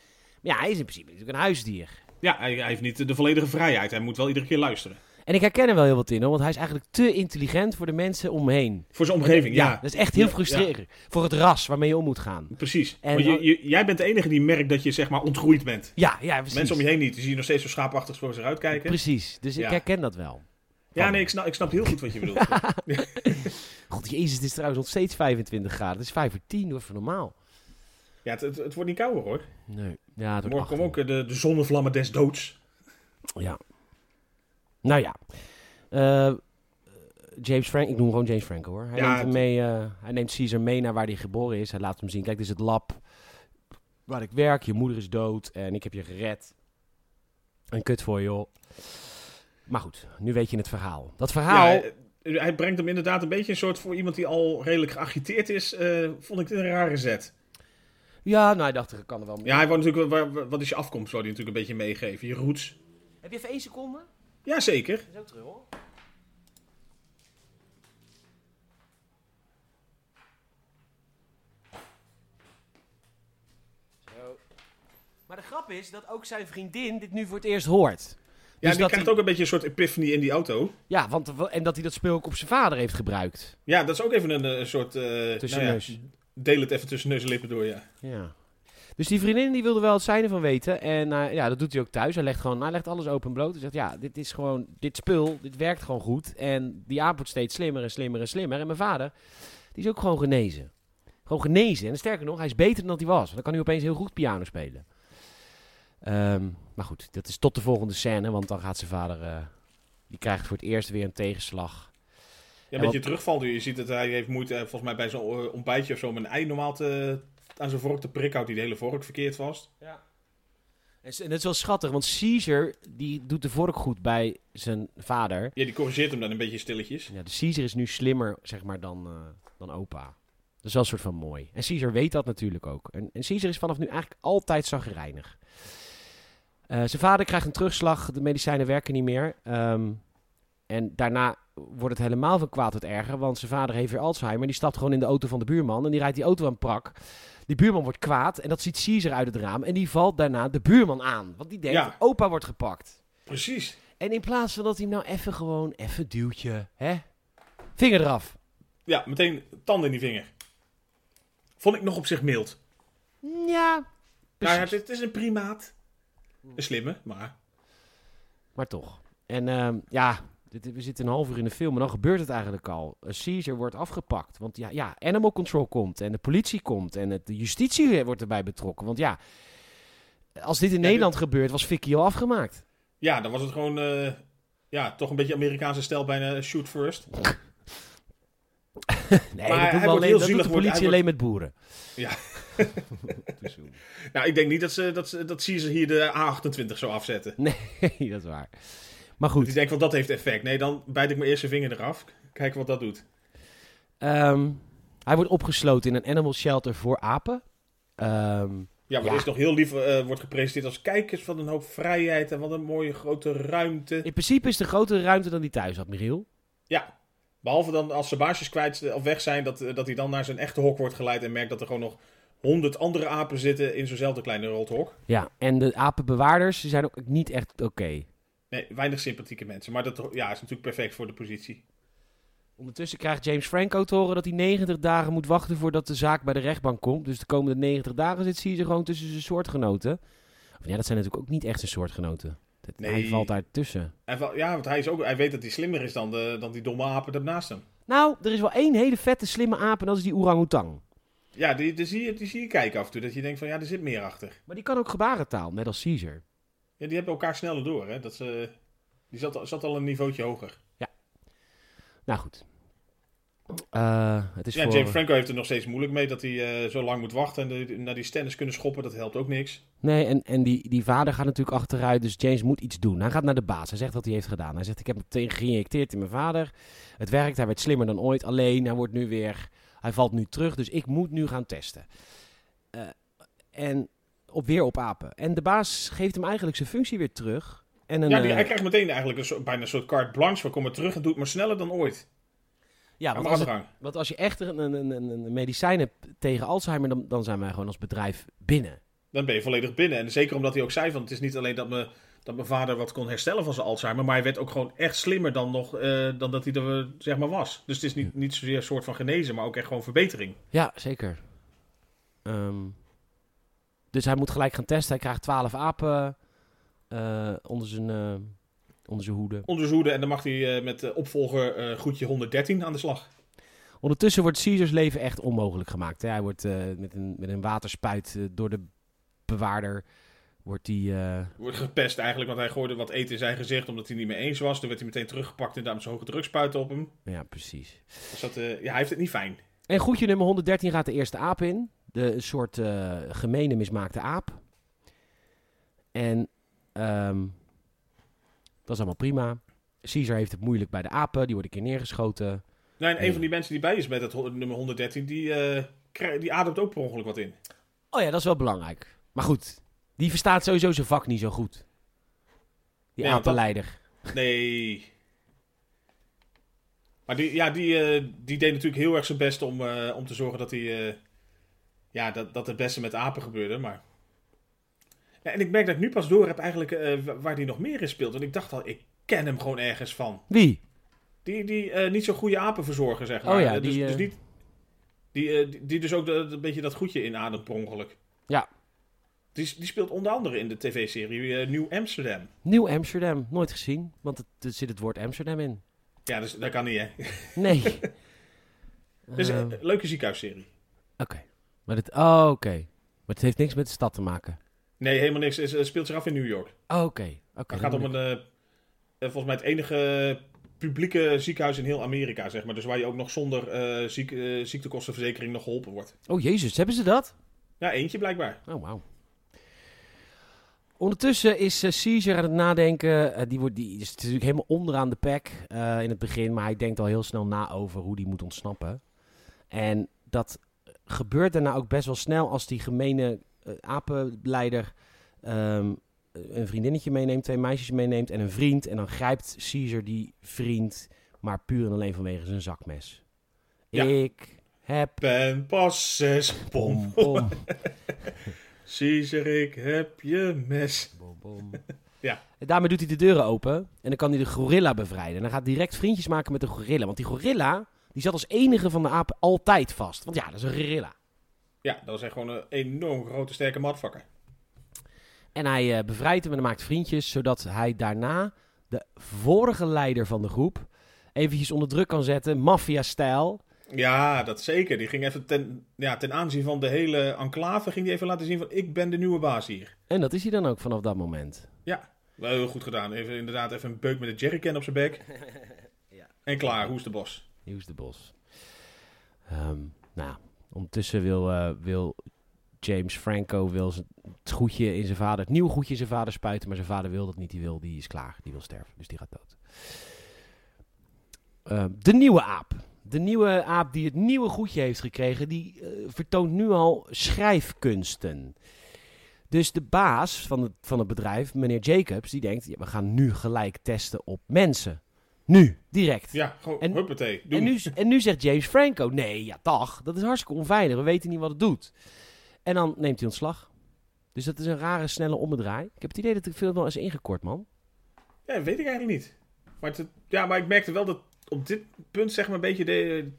A: Maar ja, hij is in principe natuurlijk een huisdier.
B: ja hij, hij heeft niet de volledige vrijheid. Hij moet wel iedere keer luisteren.
A: En ik herken er wel heel wat in hoor. Want hij is eigenlijk te intelligent voor de mensen om me heen.
B: Voor zijn omgeving, ja.
A: dat is echt heel
B: Ja,
A: frustrerend. Voor het ras waarmee je om moet gaan.
B: Precies.
A: En
B: Want je,
A: dan-
B: je- jij bent de enige die merkt dat je zeg maar ontgroeid bent.
A: Ja, ja, precies.
B: Mensen om je heen niet. Die zie je nog steeds zo schaapachtig voor zich uitkijken.
A: Precies. Dus
B: Ja.
A: ik herken dat wel.
B: Ja, nee, ik snap, ik snap heel goed wat je bedoelt.
A: God, jezus, het is trouwens nog steeds 25 graden. Het is 5 voor 10, hoor, voor normaal.
B: Ja, het, het, het wordt niet kouder hoor.
A: Nee. Ja, het wordt 18.
B: Morgen komen ook eh, de, de zonnevlammen des doods.
A: Ja. Nou ja. Eh, James Frank, ik noem hem gewoon James Franco hoor. Hij,
B: Ja,
A: neemt hem
B: het-
A: mee, eh, hij neemt Caesar mee naar waar hij geboren is. Hij laat hem zien, kijk, dit is het lab waar ik werk. Je moeder is dood en ik heb je gered. Een kut voor je, joh. Maar goed, nu weet je het verhaal. Dat verhaal...
B: Ja, eh, hij brengt hem inderdaad een beetje een soort voor iemand die al redelijk geagiteerd is. eh, vond ik dit een rare zet.
A: Ja, nou, ik dacht, ik kan er wel mee.
B: eh, Ja, hij wou natuurlijk, wel- waar- waar- wat is je afkomst, zou hij natuurlijk een beetje meegeven. Je roots.
A: Heb je even één seconde?
B: Jazeker.
A: Dat is ook terug, hoor. Zo. Maar de grap is dat ook zijn vriendin dit nu voor het eerst hoort.
B: Ja,
A: Dus
B: die
A: dat
B: krijgt
A: hij-
B: ook een beetje een soort epiphany in die auto.
A: Ja, want, en dat hij dat speel ook op zijn vader heeft gebruikt.
B: Ja, dat is ook even een, eh, soort... eh
A: Tussen
B: nou ja,
A: neus.
B: Deel het even tussen neus en lippen door, ja.
A: Ja. Dus die vriendin die wilde wel het zijn ervan weten. En eh, ja, dat doet hij ook thuis. Hij legt, gewoon, hij legt alles open en bloot. Hij zegt, ja, dit is gewoon, dit spul, dit werkt gewoon goed. En die aap wordt steeds slimmer en slimmer en slimmer. En mijn vader, die is ook gewoon genezen. gewoon genezen. En sterker nog, hij is beter dan dat hij was. Want dan kan hij opeens heel goed piano spelen. Ehm, maar goed, dat is tot de volgende scène. Want dan gaat zijn vader... eh, die krijgt voor het eerst weer een tegenslag.
B: Ja, een beetje terugval nu. Je ziet dat hij heeft moeite, eh, volgens mij bij zo'n eh, ontbijtje of zo, om een ei normaal te, aan zijn vork te prikken. Houdt hij de hele vork verkeerd vast.
A: En s- en dat is wel schattig, want Caesar die doet de vork goed bij zijn vader.
B: Ja, die corrigeert hem dan een beetje stilletjes.
A: Ja, dus Caesar is nu slimmer, zeg maar, dan, eh, dan opa. Dat is wel een soort van mooi. En Caesar weet dat natuurlijk ook. En, en Caesar is vanaf nu eigenlijk altijd zagrijnig. Eh, zijn vader krijgt een terugslag, de medicijnen werken niet meer. Ehm, en daarna wordt het helemaal van kwaad tot erger, want zijn vader heeft weer Alzheimer. Die stapt gewoon in de auto van de buurman en die rijdt die auto aan prak. Die buurman wordt kwaad en dat ziet Caesar uit het raam. En die valt daarna de buurman aan, want die denkt,
B: Ja.
A: opa wordt gepakt.
B: Precies.
A: En in plaats van dat hij hem nou even gewoon even duwtje, hè? Vinger eraf.
B: Ja, meteen tanden in die vinger. Vond ik nog op zich mild.
A: Ja.
B: Nou ja,
A: precies.
B: het is een primaat. Een slimme, maar...
A: Maar toch. En ehm, ja, dit, we zitten een half uur in de film en dan gebeurt het eigenlijk al. Eh, Caesar wordt afgepakt. Want ja, ja, Animal Control komt en de politie komt en het, de justitie eh, wordt erbij betrokken. Want ja, als dit in Nederland gebeurt, was Vicky al afgemaakt.
B: Ja, dan was het gewoon... eh, ja, toch een beetje Amerikaanse stijl, bijna shoot first.
A: Nee, dat, doen we
B: Maar hij wordt
A: alleen,
B: heel
A: dat doet
B: zielig,
A: de
B: wordt-
A: politie
B: hij
A: alleen met boeren.
B: Ja.
A: Te zoen.
B: Nou, ik denk niet dat ze, dat, ze, dat Caesar hier de A28 zou afzetten.
A: nee, dat is waar. Maar
B: Dat
A: goed,
B: hij denkt, van dat heeft effect. Nee, dan bijt ik mijn eerste vinger eraf. Kijk wat dat doet.
A: Ehm, hij wordt opgesloten in een animal shelter voor apen. Ehm,
B: Ja, maar
A: Ja.
B: er is nog heel lief eh, wordt gepresenteerd als kijkers van een hoop vrijheid en wat een mooie grote ruimte.
A: in principe is de grotere ruimte dan die thuis had, Michiel.
B: Ja, behalve dan als ze baasjes kwijt eh, of weg zijn, dat, eh, dat hij dan naar zijn echte hok wordt geleid en merkt dat er gewoon nog honderd andere apen zitten in zo'nzelfde kleine rothok.
A: Ja, en de apenbewaarders die zijn ook niet echt oké.
B: Nee, weinig sympathieke mensen, maar dat ja, is natuurlijk perfect voor de positie.
A: Ondertussen krijgt James Franco te horen dat hij 90 dagen moet wachten voordat de zaak bij de rechtbank komt. Dus de komende 90 dagen zit Caesar gewoon tussen zijn soortgenoten. Of ja, dat zijn natuurlijk ook niet echt zijn soortgenoten. Dat- Hij
B: Nee.
A: valt daar tussen.
B: En wel- ja, want hij, is ook, hij weet dat hij slimmer is dan, de, dan die domme apen daarnaast hem.
A: Nou, er is wel één hele vette slimme aap en dat is die orang-outang.
B: Ja, die, die, zie je, die zie je kijken af en toe, dat je denkt van ja, er zit meer achter.
A: Maar die kan ook gebarentaal, net als Caesar.
B: Ja, die hebben elkaar sneller door, hè. Dat ze, die zat, al- zat al een niveautje hoger.
A: Nou goed. Eh, het is
B: Ja,
A: voor...
B: James Franco heeft er nog steeds moeilijk mee dat hij eh, zo lang moet wachten en de- naar die stennis kunnen schoppen. Dat helpt ook niks.
A: Nee, en, en die, die vader gaat natuurlijk achteruit, dus James moet iets doen. Hij gaat naar de baas, hij zegt wat hij heeft gedaan. Hij zegt, ik heb hem tegen geïnjecteerd in mijn vader. Het werkt, hij werd slimmer dan ooit, alleen hij wordt nu weer... Hij valt nu terug, dus ik moet nu gaan testen. Eh, en op, weer op apen. En de baas geeft hem eigenlijk zijn functie weer terug. En een,
B: ja, die,
A: eh,
B: hij krijgt meteen eigenlijk een soort, bijna een soort carte blanche. We komen terug en doet maar sneller dan ooit.
A: ja,
B: Ja,
A: want
B: maar
A: als, het-
B: afgang.
A: want als je echt een, een, een, een medicijn hebt tegen Alzheimer, dan, dan zijn wij gewoon als bedrijf binnen.
B: Dan ben je volledig binnen. En zeker omdat hij ook zei van het is niet alleen dat, me, dat mijn vader wat kon herstellen van zijn Alzheimer. Maar hij werd ook gewoon echt slimmer dan, nog, eh, dan dat hij er eh, zeg maar was. Dus het is niet, niet zozeer een soort van genezen, maar ook echt gewoon verbetering.
A: Ja, zeker. Ehm, dus hij moet gelijk gaan testen. Hij krijgt twaalf apen eh, onder, zijn, eh, onder zijn hoede.
B: Onderzoeden en dan mag hij eh, met de opvolger eh goedje 113 aan de slag.
A: Ondertussen wordt Caesars leven echt onmogelijk gemaakt. Hè? Hij wordt eh, met, een, met een waterspuit eh, door de bewaarder... Wordt hij... eh,
B: Wordt gepest eigenlijk, want hij gooide wat eten in zijn gezicht omdat hij niet mee eens was. Toen werd hij meteen teruggepakt en daarom zijn hoge drugspuiten op hem.
A: ja, precies.
B: Dus dat, eh, ja, hij heeft het niet fijn.
A: En goedje nummer 113 gaat de eerste aap in. De een soort eh gemene mismaakte aap. En ehm, dat is allemaal prima. Caesar heeft het moeilijk bij de apen. Die wordt een keer neergeschoten.
B: Nee, en een
A: Nee.
B: van die mensen die bij is met het ho- nummer 113, die, eh, krij- die ademt ook per ongeluk wat in.
A: Oh ja, dat is wel belangrijk. Maar goed, die verstaat sowieso zijn vak niet zo goed. Die
B: Nee, want dat-
A: apenleider.
B: Nee. Maar die, ja, die, eh, die deed natuurlijk heel erg zijn best om, eh, om te zorgen dat, hij, eh, ja, dat, dat het beste met apen gebeurde. Maar... Ja, en ik merk dat ik nu pas door heb eigenlijk eh, wa- waar die nog meer in speelt. Want ik dacht al, ik ken hem gewoon ergens van.
A: Wie?
B: Die, die eh, niet zo goede apenverzorger, zeg maar.
A: Oh ja,
B: Eh, dus,
A: die, eh,
B: dus niet, die, eh, die, die dus ook de- de- een beetje dat goedje inademt per ongeluk.
A: Ja.
B: Die, s- die speelt onder andere in de tv-serie eh, Nieuw Amsterdam.
A: Nieuw Amsterdam. Nooit gezien, want het, er zit het woord Amsterdam in.
B: Ja, dus, dat kan niet, hè?
A: Nee.
B: Dus
A: Eh,
B: een leuke ziekenhuisserie.
A: Maar dit, oh, oké. Maar het heeft niks met de stad te maken.
B: Nee, helemaal niks. Het speelt zich af in New York.
A: Oh, oké. Oké,
B: Het
A: dan
B: gaat om
A: ben
B: een, eh, eh, volgens mij het enige publieke ziekenhuis in heel Amerika, zeg maar. Dus waar je ook nog zonder eh, ziek, eh, ziektekostenverzekering nog geholpen wordt.
A: ik- Oh, jezus, hebben ze dat?
B: Ja, eentje blijkbaar.
A: Oh, wauw. Ondertussen is eh, Caesar aan het nadenken. Eh, die, wordt, die is natuurlijk helemaal onderaan de pack eh, in het begin. Maar hij denkt al heel snel na over hoe die moet ontsnappen. En dat eh, gebeurt daarna ook best wel snel als die gemene eh, apenleider ehm, een vriendinnetje meeneemt, twee meisjes meeneemt en een vriend. En dan grijpt Caesar die vriend, maar puur en alleen vanwege zijn zakmes.
B: Ja.
A: Ik heb
B: Ben pas zes
A: pom,
B: pom.
A: pom.
B: Caesar, ik heb je mes.
A: Bom, bom.
B: Ja.
A: En daarmee doet hij de deuren open en dan kan hij de gorilla bevrijden. En dan gaat hij direct vriendjes maken met de gorilla. Want die gorilla, die zat als enige van de apen altijd vast. Want ja, dat is een gorilla.
B: Ja, dat was echt gewoon een enorm grote, sterke matvakker.
A: En hij eh, bevrijdt hem en hij maakt vriendjes, zodat hij daarna de vorige leider van de groep eventjes onder druk kan zetten, maffia-stijl.
B: Ja, dat zeker. Die ging even ten, ja, ten aanzien van de hele enclave, ging die even laten zien van ik ben de nieuwe baas hier.
A: En dat is hij dan ook vanaf dat moment.
B: Wel heel goed gedaan. Even, inderdaad, even een beuk met een jerrycan op zijn bek.
A: Ja.
B: En klaar, hoes de bos.
A: Nieuws de Bos. Ehm, nou, ondertussen wil, eh, wil James Franco wil zijn- het goedje in zijn vader, het nieuwe goedje in zijn vader spuiten, maar zijn vader wil dat niet. Die wil, die is klaar, die wil sterven, dus die gaat dood. Ehm, de nieuwe aap. De nieuwe aap die het nieuwe goedje heeft gekregen, die eh, vertoont nu al schrijfkunsten. Dus de baas van het, van het bedrijf, meneer Jacobs, die denkt: ja, we gaan nu gelijk testen op mensen. Nu, direct.
B: Ja, gewoon
A: En-
B: huppatee. Doen.
A: En nu, en nu zegt James Franco: nee, ja, dag, dat is hartstikke onveilig. We weten niet wat het doet. En dan neemt hij ontslag. Dus dat is een rare, snelle ommedraai. Ik heb het idee dat ik veel wel eens ingekort, man.
B: Ja, weet ik eigenlijk niet. Maar, het, ja, maar ik merkte wel dat op dit punt, zeg maar, een beetje de,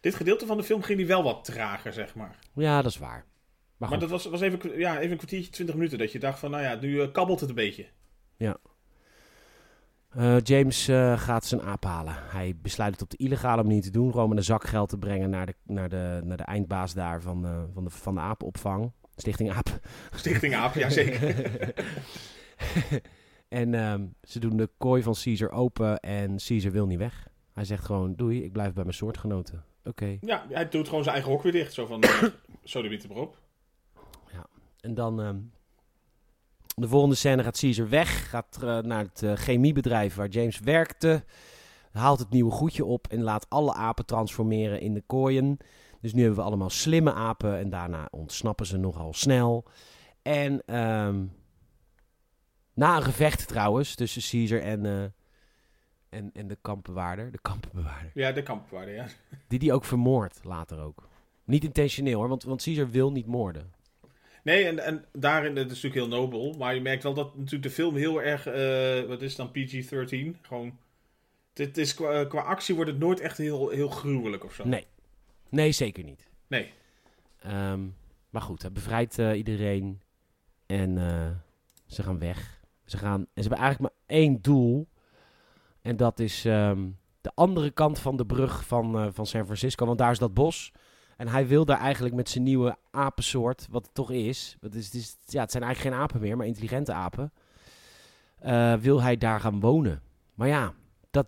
B: dit gedeelte van de film ging die wel wat trager, zeg maar.
A: Ja, dat is waar. Maar
B: Maar
A: goed,
B: dat was, was even, ja, even een kwartiertje, twintig minuten, dat je dacht van, nou ja, nu eh, kabbelt het een beetje.
A: eh, James eh, gaat zijn aap halen. Hij besluit het op de illegale manier te doen. Gewoon met een zak geld te brengen naar de, naar de, naar de eindbaas daar van de, van de, van de apenopvang. Stichting Aap.
B: Stichting Aap, ja zeker.
A: en ehm, ze doen de kooi van Caesar open en Caesar wil niet weg. Hij zegt gewoon, doei, ik blijf bij mijn soortgenoten. Oké.
B: Ja, hij doet gewoon zijn eigen hok weer dicht. Zo van, eh, zo de witte erop.
A: En dan ehm, de volgende scène gaat Caesar weg, gaat eh, naar het eh, chemiebedrijf waar James werkte, haalt het nieuwe goedje op en laat alle apen transformeren in de kooien. Dus nu hebben we allemaal slimme apen en daarna ontsnappen ze nogal snel. En ehm, na een gevecht trouwens tussen Caesar en, eh, en, en de kampenwaarder, de kampenbewaarder,
B: Ja, de kampwaarde, ja.
A: die die ook vermoordt later ook. Niet intentioneel hoor, want, want Caesar wil niet moorden.
B: Nee, en, en daarin, het is natuurlijk heel nobel, maar je merkt wel dat natuurlijk de film heel erg, eh, wat is het dan, PG-13? Gewoon, dit is, qua, qua actie wordt het nooit echt heel, heel gruwelijk of zo.
A: Nee. Nee, zeker niet.
B: Nee.
A: Ehm, maar goed, hij bevrijdt eh, iedereen. En eh, ze gaan weg. Ze gaan, en ze hebben eigenlijk maar één doel. En dat is ehm, de andere kant van de brug van, eh, van San Francisco. Want daar is dat bos. En hij wil daar eigenlijk met zijn nieuwe apensoort, wat het toch is. Want het, is, het is- ja, het zijn eigenlijk geen apen meer, maar intelligente apen. eh, wil hij daar gaan wonen. Maar ja, dat,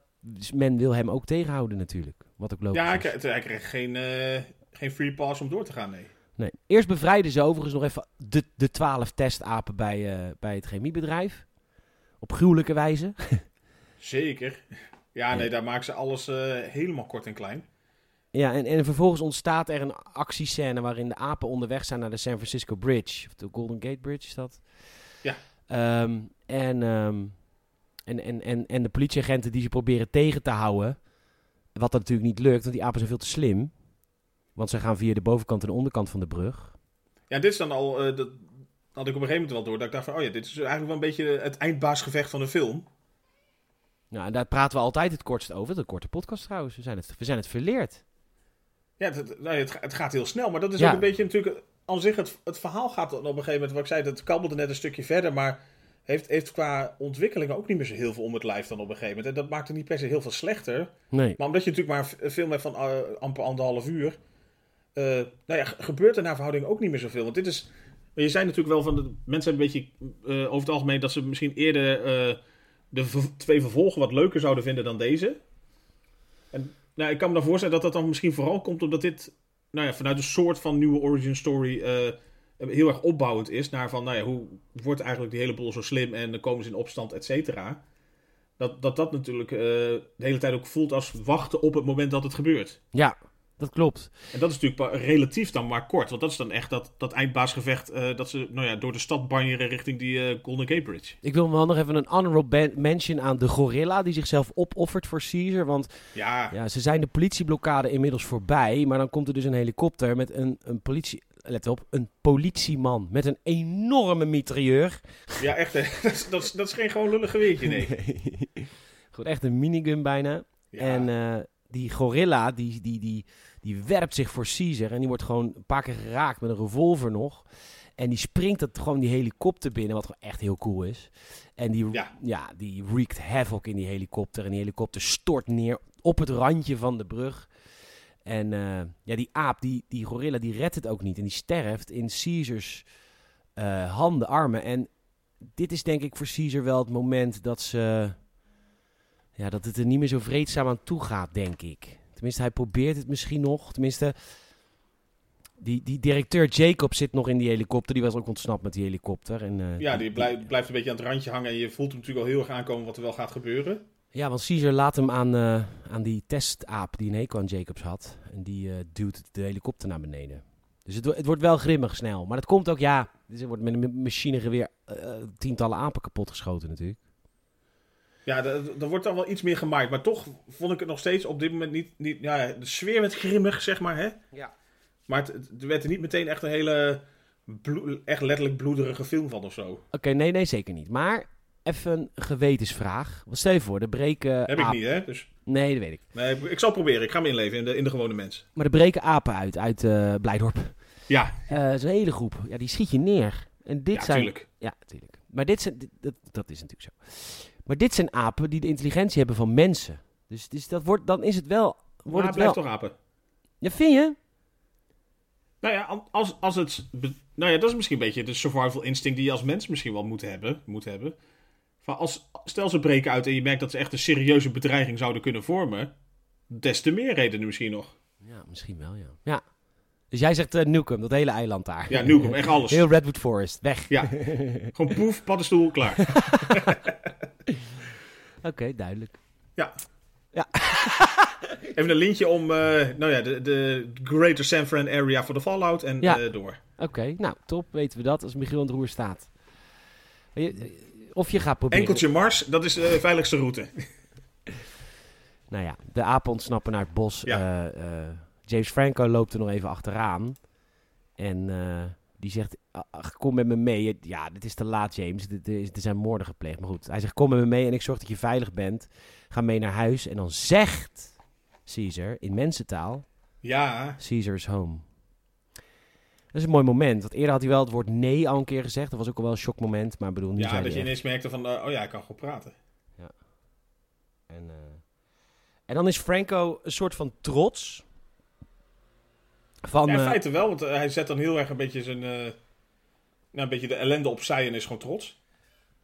A: men wil hem ook tegenhouden natuurlijk. Wat ook logisch
B: Ja, hij
A: is.
B: krijgt, hij krijgt geen, eh, geen free pass om door te gaan, nee.
A: Nee. Eerst bevrijden ze overigens nog even de, de 12 testapen bij, eh, bij het chemiebedrijf. Op gruwelijke wijze.
B: Zeker. Ja, nee, daar maken ze alles eh, helemaal kort en klein.
A: Ja, en, en vervolgens ontstaat er een actiescène waarin de apen onderweg zijn naar de San Francisco Bridge. Of de Golden Gate Bridge is dat.
B: Ja.
A: Ehm, en, ehm, en, en, en, en de politieagenten die ze proberen tegen te houden. Wat dat natuurlijk niet lukt, want die apen zijn veel te slim. Want ze gaan via de bovenkant en de onderkant van de brug.
B: Ja, dit is dan al, eh, dat had ik op een gegeven moment wel door, dat ik dacht van, oh ja, dit is eigenlijk wel een beetje het eindbaasgevecht van de film.
A: Nou, en daar praten we altijd het kortst over. De korte podcast trouwens. We zijn het, we zijn het verleerd.
B: Ja, het, het- nou ja, het, ga- het gaat heel snel, maar dat is
A: Ja.
B: ook een beetje natuurlijk... Aan zich, het, het verhaal gaat dan op een gegeven moment, wat ik zei, dat kabbelde net een stukje verder, maar heeft, heeft qua ontwikkelingen ook niet meer zo heel veel om het lijf dan op een gegeven moment. En dat maakt het niet per se heel veel slechter,
A: Nee.
B: maar omdat je natuurlijk maar een film hebt van eh, amper anderhalf uur, eh, nou ja, ge- gebeurt er naar verhouding ook niet meer zoveel. Want dit is. Je zei natuurlijk wel van. De, mensen hebben een beetje. eh, over het algemeen dat ze misschien eerder. eh, de v- twee vervolgen wat leuker zouden vinden dan deze. En nou, ik kan me dan voorstellen dat dat dan misschien vooral komt omdat dit. Nou ja, vanuit een soort van nieuwe origin story. eh, heel erg opbouwend is naar van. Nou ja, hoe wordt eigenlijk die hele boel zo slim en dan komen ze in opstand, et cetera. Dat, dat dat natuurlijk eh, de hele tijd ook voelt als wachten op het moment dat het gebeurt.
A: Ja, dat klopt.
B: En dat is natuurlijk pa- relatief dan maar kort. Want dat is dan echt dat, dat eindbaasgevecht eh, dat ze nou ja, door de stad banjeren richting die eh, Golden Gate Bridge.
A: Ik wil wel nog even een honorable ban- mention aan de gorilla die zichzelf opoffert voor Caesar. Want
B: Ja,
A: ja, ze zijn de politieblokkade inmiddels voorbij. Maar dan komt er dus een helikopter met een, een politie... Let op, een politieman met een enorme mitrailleur.
B: ja echt. hè. Dat, is- dat, is- dat is geen gewoon lullig geweertje, nee.
A: Goed, echt een minigun bijna.
B: Ja.
A: En eh, die gorilla, die, die, die, die werpt zich voor Caesar. En die wordt gewoon een paar keer geraakt met een revolver nog. En die springt dat gewoon die helikopter binnen, wat gewoon echt heel cool is. En die, ja.
B: Ja.
A: die wreakt havoc in die helikopter. En die helikopter stort neer op het randje van de brug. En eh, ja, die aap, die, die gorilla, die redt het ook niet. En die sterft in Caesars eh, handen, armen. En dit is denk ik voor Caesar wel het moment dat ze... Ja, dat het er niet meer zo vreedzaam aan toe gaat, denk ik. Tenminste, hij probeert het misschien nog. Tenminste, die, die directeur Jacob zit nog in die helikopter. Die was ook ontsnapt met die helikopter. En, eh,
B: ja, die blijft, blijft een beetje aan het randje hangen. En je voelt hem natuurlijk al heel erg aankomen wat er wel gaat gebeuren.
A: Ja, want Caesar laat hem aan, eh, aan die testaap die een hekel aan Jacobs had. En die eh, duwt de helikopter naar beneden. Dus het, wo- het wordt wel grimmig snel. Maar dat komt ook, ja, dus er wordt met een ma- machinegeweer eh, eh, tientallen apen kapotgeschoten natuurlijk.
B: Ja, dat- er wordt dan wel iets meer gemaakt. Maar toch vond ik het nog steeds op dit moment niet. niet ja, de sfeer werd grimmig, zeg maar. Hè?
A: Ja.
B: Maar het, het- er werd er niet meteen echt een hele. bloe- echt letterlijk bloederige film van of zo.
A: Oké, nee, nee, zeker niet. Maar even een gewetensvraag. Wat stel je voor, er breken
B: Heb ik
A: apen...
B: niet, hè? Dus,
A: Nee, dat weet ik.
B: nee, ik, ik zal het proberen. Ik ga me inleven in de, in de gewone mens.
A: Maar er breken apen uit, uit eh Blijdorp.
B: Ja,
A: Eh, dat is een hele groep. Ja, die schiet je neer. En dit
B: ja,
A: zijn...
B: tuurlijk.
A: Ja, natuurlijk. Maar dit zijn... dit- dat, dat is natuurlijk zo. Maar dit zijn apen die de intelligentie hebben van mensen. Dus, dus dat wordt, dan is het wel...
B: Maar
A: Wordt
B: het
A: het
B: blijft
A: wel...
B: toch apen.
A: Ja, vind je?
B: Nou ja, als, als het... be- Nou ja, dat is misschien een beetje de survival instinct die je als mens misschien wel moet hebben. Moet hebben. Van als, stel ze breken uit en je merkt dat ze echt een serieuze bedreiging zouden kunnen vormen. Des te meer redenen misschien nog.
A: Ja, misschien wel, ja. Ja. Dus jij zegt eh Nukem, dat hele eiland daar.
B: Ja, Nukem, echt alles.
A: Heel Redwood Forest, weg.
B: Ja, gewoon poef, paddenstoel, klaar.
A: Oké, duidelijk.
B: Even een lintje om, eh, nou ja, de, de Greater San Fran area voor de Fallout en
A: Ja.
B: eh, door.
A: Oké, nou, top. Weten we dat als Michiel aan het roer staat. Maar je- eh, Of je gaat proberen...
B: Enkeltje Mars, dat is de veiligste route.
A: Nou ja, de apen ontsnappen naar het bos.
B: Ja.
A: Eh, eh, James Franco loopt er nog even achteraan. En eh, die zegt, "Ach, kom met me mee. Ja, dit is te laat, James. Dit- dit is- Er zijn moorden gepleegd. Maar goed, hij zegt, kom met me mee en ik zorg dat je veilig bent. Ga mee naar huis. En dan zegt Caesar in mensentaal,
B: Ja,
A: Caesar is home. Dat is een mooi moment. Want eerder had hij wel het woord nee al een keer gezegd. Dat was ook al wel een shockmoment. Maar ik bedoel, nu zei
B: ja
A: hij
B: dat je
A: echt-
B: ineens merkte van, eh, oh ja, ik kan gewoon praten.
A: En, eh, en dan is Franco een soort van trots. Van,
B: Ja, in
A: eh,
B: feite wel, want eh, hij zet dan heel erg een beetje zijn. eh, nou, een beetje de ellende opzij en is gewoon trots.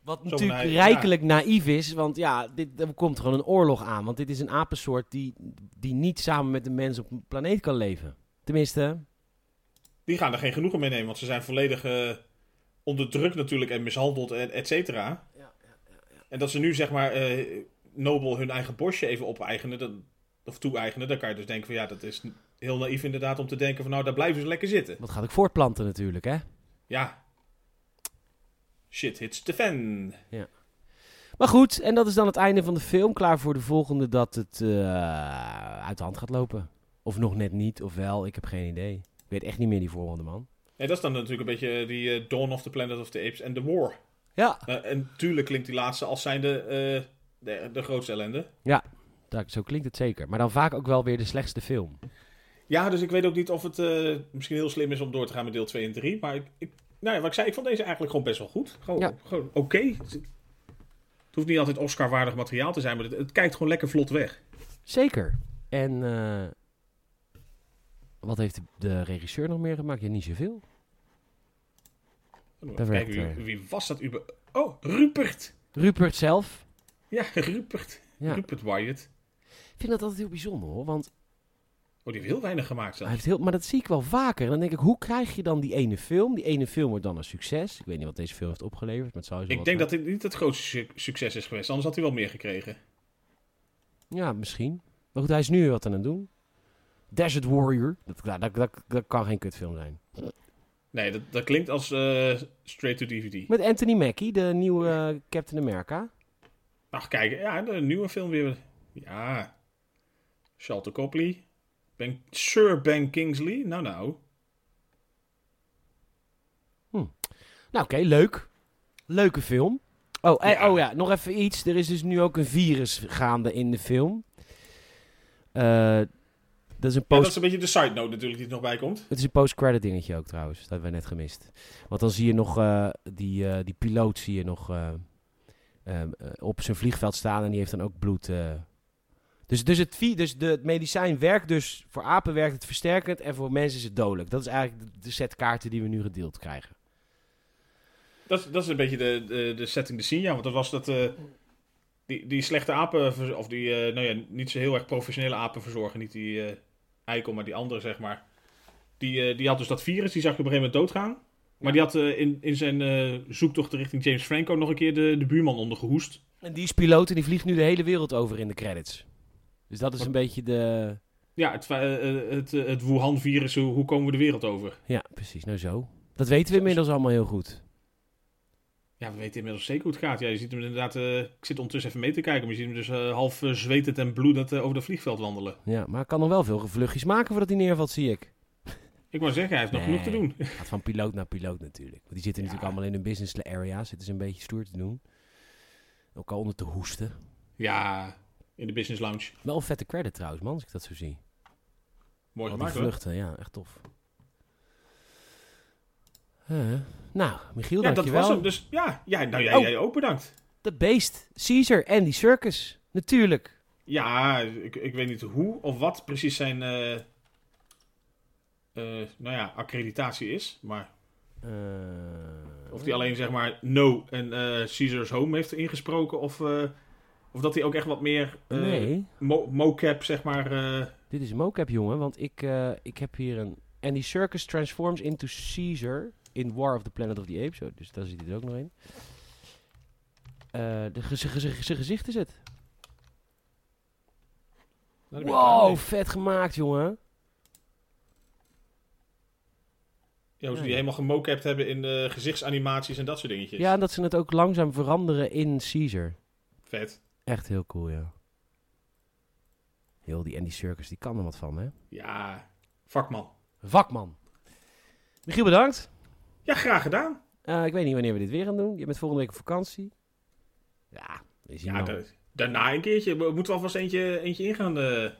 A: wat
B: zo'n
A: natuurlijk
B: naïef-
A: rijkelijk naïef is. Want ja, dit, er komt gewoon een oorlog aan. Want dit is een apensoort die, die niet samen met de mens op een planeet kan leven. Tenminste,
B: Die gaan er geen genoegen mee nemen, want ze zijn volledig eh, onder druk natuurlijk en mishandeld, en et cetera. En dat ze nu zeg maar eh, nobel hun eigen borstje even opeigenen, dat, of toe-eigenen, dan kan je dus denken van ja, dat is heel naïef inderdaad om te denken van nou, daar blijven ze lekker zitten.
A: wat gaat ik voortplanten natuurlijk, hè?
B: Ja. Shit hits the fan.
A: Maar goed, en dat is dan het einde van de film. Klaar voor de volgende dat het eh, uit de hand gaat lopen. Of nog net niet, of wel, ik heb geen idee. Ik weet echt niet meer die volgende man.
B: En dat is dan natuurlijk een beetje die eh, Dawn of the Planet of the Apes and the War.
A: Ja,
B: Eh, en tuurlijk klinkt die laatste als zijnde eh de, de grootste ellende.
A: daar- zo klinkt het zeker. Maar dan vaak ook wel weer de slechtste film.
B: Ja, dus ik weet ook niet of het eh, misschien heel slim is om door te gaan met deel 2 en 3. Maar ik, ik- nou ja, wat ik zei, ik vond deze eigenlijk gewoon best wel goed. Gewoon,
A: Ja.
B: gewoon oké. Het het hoeft niet altijd Oscar-waardig materiaal te zijn, maar het, het kijkt gewoon lekker vlot weg.
A: Zeker. En eh, Wat heeft de regisseur nog meer gemaakt? Ja, niet zoveel.
B: Even kijken,
A: werkt, eh.
B: wie, wie was dat? Uber? Oh, Rupert.
A: Rupert zelf.
B: Ja, Rupert.
A: Ja.
B: Rupert Wyatt.
A: Ik vind dat altijd heel bijzonder hoor. Want
B: Oh, die heeft heel weinig gemaakt
A: hij
B: zelfs.
A: heeft heel, maar dat zie ik wel vaker. En dan denk ik, hoe krijg je dan die ene film? Die ene film wordt dan een succes. Ik weet niet wat deze film heeft opgeleverd. Maar het zou zo
B: Ik
A: wat
B: denk
A: zijn.
B: dat dit niet het grootste su- succes is geweest. Anders had hij wel meer gekregen.
A: Ja, misschien. Maar goed, hij is nu weer wat aan het doen. Desert Warrior. Dat, dat, dat, dat, dat kan geen kutfilm zijn.
B: Nee, dat, dat klinkt als eh, straight to DVD.
A: Met Anthony Mackie, de nieuwe eh, Captain America.
B: Ach, kijk, ja, de nieuwe film weer. Ja. Charlton Copley. Ben, Sir Ben Kingsley. Nou, nou.
A: Nou, oké, leuk. Leuke film. Oh, eh,
B: Ja.
A: oh ja, nog even iets. Er is dus nu ook een virus gaande in de film. Eh, dat is een
B: Ja,
A: post
B: dat is een beetje de side note natuurlijk die er nog bij komt.
A: Het is een post-credit dingetje ook trouwens. Dat hebben we net gemist. Want dan zie je nog eh, die, eh, die piloot zie je nog eh, ehm, eh, op zijn vliegveld staan en die heeft dan ook bloed. eh. Dus, dus, het, vi- dus de, het medicijn werkt dus voor apen werkt het versterkend en voor mensen is het dodelijk. Dat is eigenlijk de, de set kaarten die we nu gedeeld krijgen.
B: Dat, is- dat is een beetje de, de, de setting de scene, ja. Want dat was dat... eh, die, die slechte apen... Of die, eh, nou ja, niet zo heel erg professionele apen verzorgen. Niet die eh, eikel, maar die andere, zeg maar. Die, eh, die had dus dat virus. Die zag je op een gegeven moment doodgaan. Maar die had eh, in, in zijn eh, zoektocht richting James Franco nog een keer de, de buurman ondergehoest.
A: En die is piloot en die vliegt nu de hele wereld over in de credits. Dus dat is een beetje de...
B: Ja, het, eh, eh, het, eh, het Wuhan-virus, hoe, hoe komen we de wereld over?
A: Ja, precies. Nou zo. Dat weten we inmiddels allemaal heel goed.
B: Ja, we weten inmiddels zeker hoe het gaat. Ja, je ziet hem inderdaad... eh, ik zit ondertussen even mee te kijken, maar je ziet hem dus eh, half eh, zwetend en bloedend eh, over dat vliegveld wandelen.
A: Ja, maar hij kan nog wel veel vluchtjes maken voordat hij neervalt, zie ik.
B: Ik wou zeggen, hij heeft nog
A: Nee.
B: genoeg te doen.
A: gaat van piloot naar piloot natuurlijk. Want die zitten natuurlijk allemaal in hun business area. Zitten ze een beetje stoer te doen. Elkaar onder te hoesten.
B: Ja, in de business lounge.
A: Wel een vette credit trouwens, man, als ik dat zo zie.
B: Mooi
A: Al die
B: gemaakt, hoor.
A: vluchten, ja, echt tof. Eh, nou, Michiel,
B: Ja, dat was
A: dankjewel.
B: hem. Dus ja, ja nou jij,
A: Oh.
B: jij ook bedankt.
A: De beest, Caesar en die circus. Natuurlijk.
B: Ja, ik, ik weet niet hoe of wat precies zijn... eh, eh, nou ja, accreditatie is. Maar
A: Eh,
B: Of hij alleen zeg maar no en eh Caesar's Home heeft ingesproken. Of, eh, of dat hij ook echt wat meer eh,
A: Nee,
B: mo- mocap zeg maar. eh,
A: dit is mocap, jongen. Want ik, eh, ik heb hier een... En die circus transforms into Caesar in War of the Planet of the Apes. Zo, dus daar zit dit ook nog in. Eh, de ge- ge- ge- zijn gezicht is het.
B: nou, daar ben ik klaar
A: Wow,
B: mee.
A: vet gemaakt, jongen.
B: Ja, hoe ze die helemaal gemocapt hebben in eh, gezichtsanimaties en dat soort dingetjes.
A: Ja, en dat ze het ook langzaam veranderen in Caesar.
B: Vet.
A: Echt heel cool, ja. Heel die Andy Circus, die kan er wat van, hè?
B: Ja, vakman.
A: Vakman. Michiel, bedankt.
B: Ja, graag gedaan.
A: Eh, ik weet niet wanneer we dit weer gaan doen. Je bent volgende week op vakantie. Ja, is hier
B: Ja,
A: wel.
B: da- daarna een keertje. We moeten we alvast eentje, eentje ingaan eh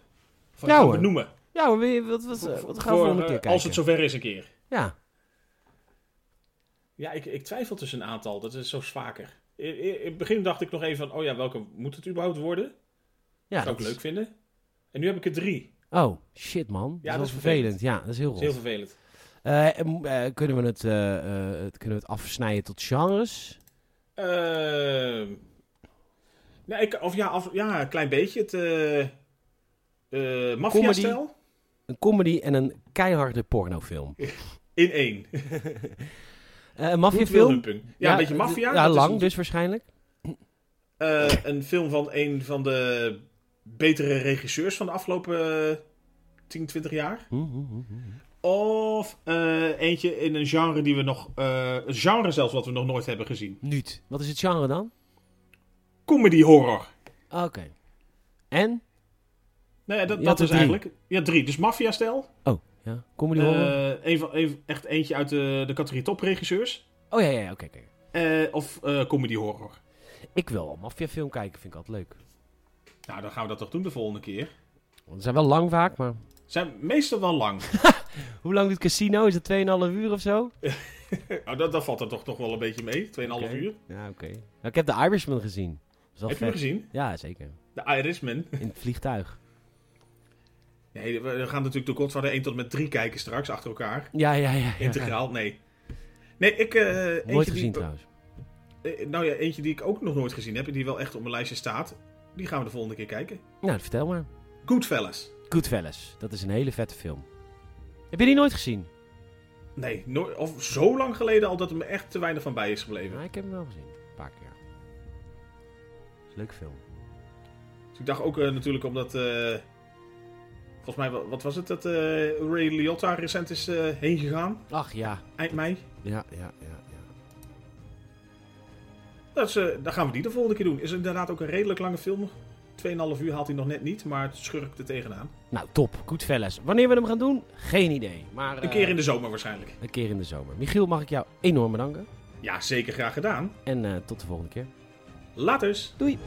B: van
A: Ja,
B: gaan
A: hoor.
B: benoemen.
A: Ja, maar wie- wat, wat, wat, wat gaan we
B: Voor,
A: volgende
B: eh,
A: keer kijken?
B: Als het zover is een keer.
A: Ja,
B: Ja, ik, ik twijfel tussen een aantal. Dat is zo vaker. In, in- in het begin dacht ik nog even van, oh ja, welke moet het überhaupt worden?
A: ja
B: zou ik
A: dat is-
B: leuk vinden. En nu heb ik er drie.
A: Oh, shit man. Ja, dat is wel vervelend. Ja, dat is heel
B: Dat
A: rot.
B: is heel vervelend.
A: Eh, en, eh, kunnen, we het, eh, eh, het- kunnen we het afsnijden tot genres?
B: Ehm nou, ik, of ja, af, ja, een klein beetje. Het eh eh maffia-stijl
A: Een comedy en een keiharde pornofilm.
B: in één.
A: Eh een
B: Goed
A: maffiafilm?
B: Wildumping. Ja, een beetje maffia.
A: Ja,
B: Dat is
A: lang
B: een-
A: dus waarschijnlijk.
B: eh, een film van een van de betere regisseurs van de afgelopen eh, 10, 20 jaar.
A: Hm, hm, hm, hm.
B: Of eh, eentje in een genre die we nog... eh, een genre zelfs wat we nog nooit hebben gezien.
A: Niet. Wat is het genre dan?
B: Comedy horror.
A: Oké. En?
B: Nou ja, dat,
A: Je had
B: dat
A: er
B: is
A: drie.
B: eigenlijk... Ja, drie. Dus maffia-stijl.
A: Oh, ja. Comedy horror?
B: Eh, een van, een- echt eentje uit de, de categorie topregisseurs.
A: Oh ja, ja, ja, oké. oké.
B: Eh, of eh, comedy horror.
A: Ik wil wel een maffiafilm kijken, vind ik altijd leuk.
B: Nou, dan gaan we dat toch doen de volgende keer.
A: Want ze zijn wel lang vaak, maar...
B: Zijn meestal wel lang.
A: Hoe lang doet Casino? Is dat 2,5 uur of zo?
B: nou, dat, dat valt er toch nog wel een beetje mee. 2,5
A: Oké.
B: uur.
A: Ja, oké. Nou, ik heb de Irishman gezien. Dat is wel
B: Heb je
A: vet.
B: hem gezien?
A: Ja, zeker.
B: De Irishman.
A: In het vliegtuig.
B: Nee, we gaan natuurlijk de Godfather 1 tot en met 3 kijken straks, achter elkaar.
A: Ja, ja, ja. ja, ja.
B: Integraal, nee. Nee, ik... eh, eentje
A: Nooit
B: die-
A: gezien trouwens.
B: eh, nou ja, eentje die ik ook nog nooit gezien heb, en die wel echt op mijn lijstje staat. Die gaan we de volgende keer kijken.
A: Nou, vertel maar.
B: Goodfellas.
A: Goodfellas. Dat is een hele vette film. Heb je die nooit gezien?
B: Nee, nooit- of zo lang geleden al dat er me echt te weinig van bij is gebleven.
A: Ja, ik heb hem wel gezien. Een paar keer. Is een leuke film.
B: Dus ik dacht ook eh, natuurlijk omdat... eh, volgens mij, wa- wat was het, dat eh, Ray Liotta recent is eh, heen gegaan,
A: Ach ja.
B: eind mei.
A: Ja, ja, ja. ja.
B: Dat is, eh, dan gaan we die de volgende keer doen. Is inderdaad ook een redelijk lange film. 2,5 uur haalt hij nog net niet, maar het schurkt er tegenaan.
A: Nou, top. Goodfellas. Wanneer we hem gaan doen? Geen idee. Maar, eh,
B: Een keer in de zomer waarschijnlijk.
A: een keer in de zomer. Michiel, mag ik jou enorm bedanken.
B: Ja, zeker graag gedaan.
A: En eh, tot de volgende keer.
B: Laters!
A: Doei.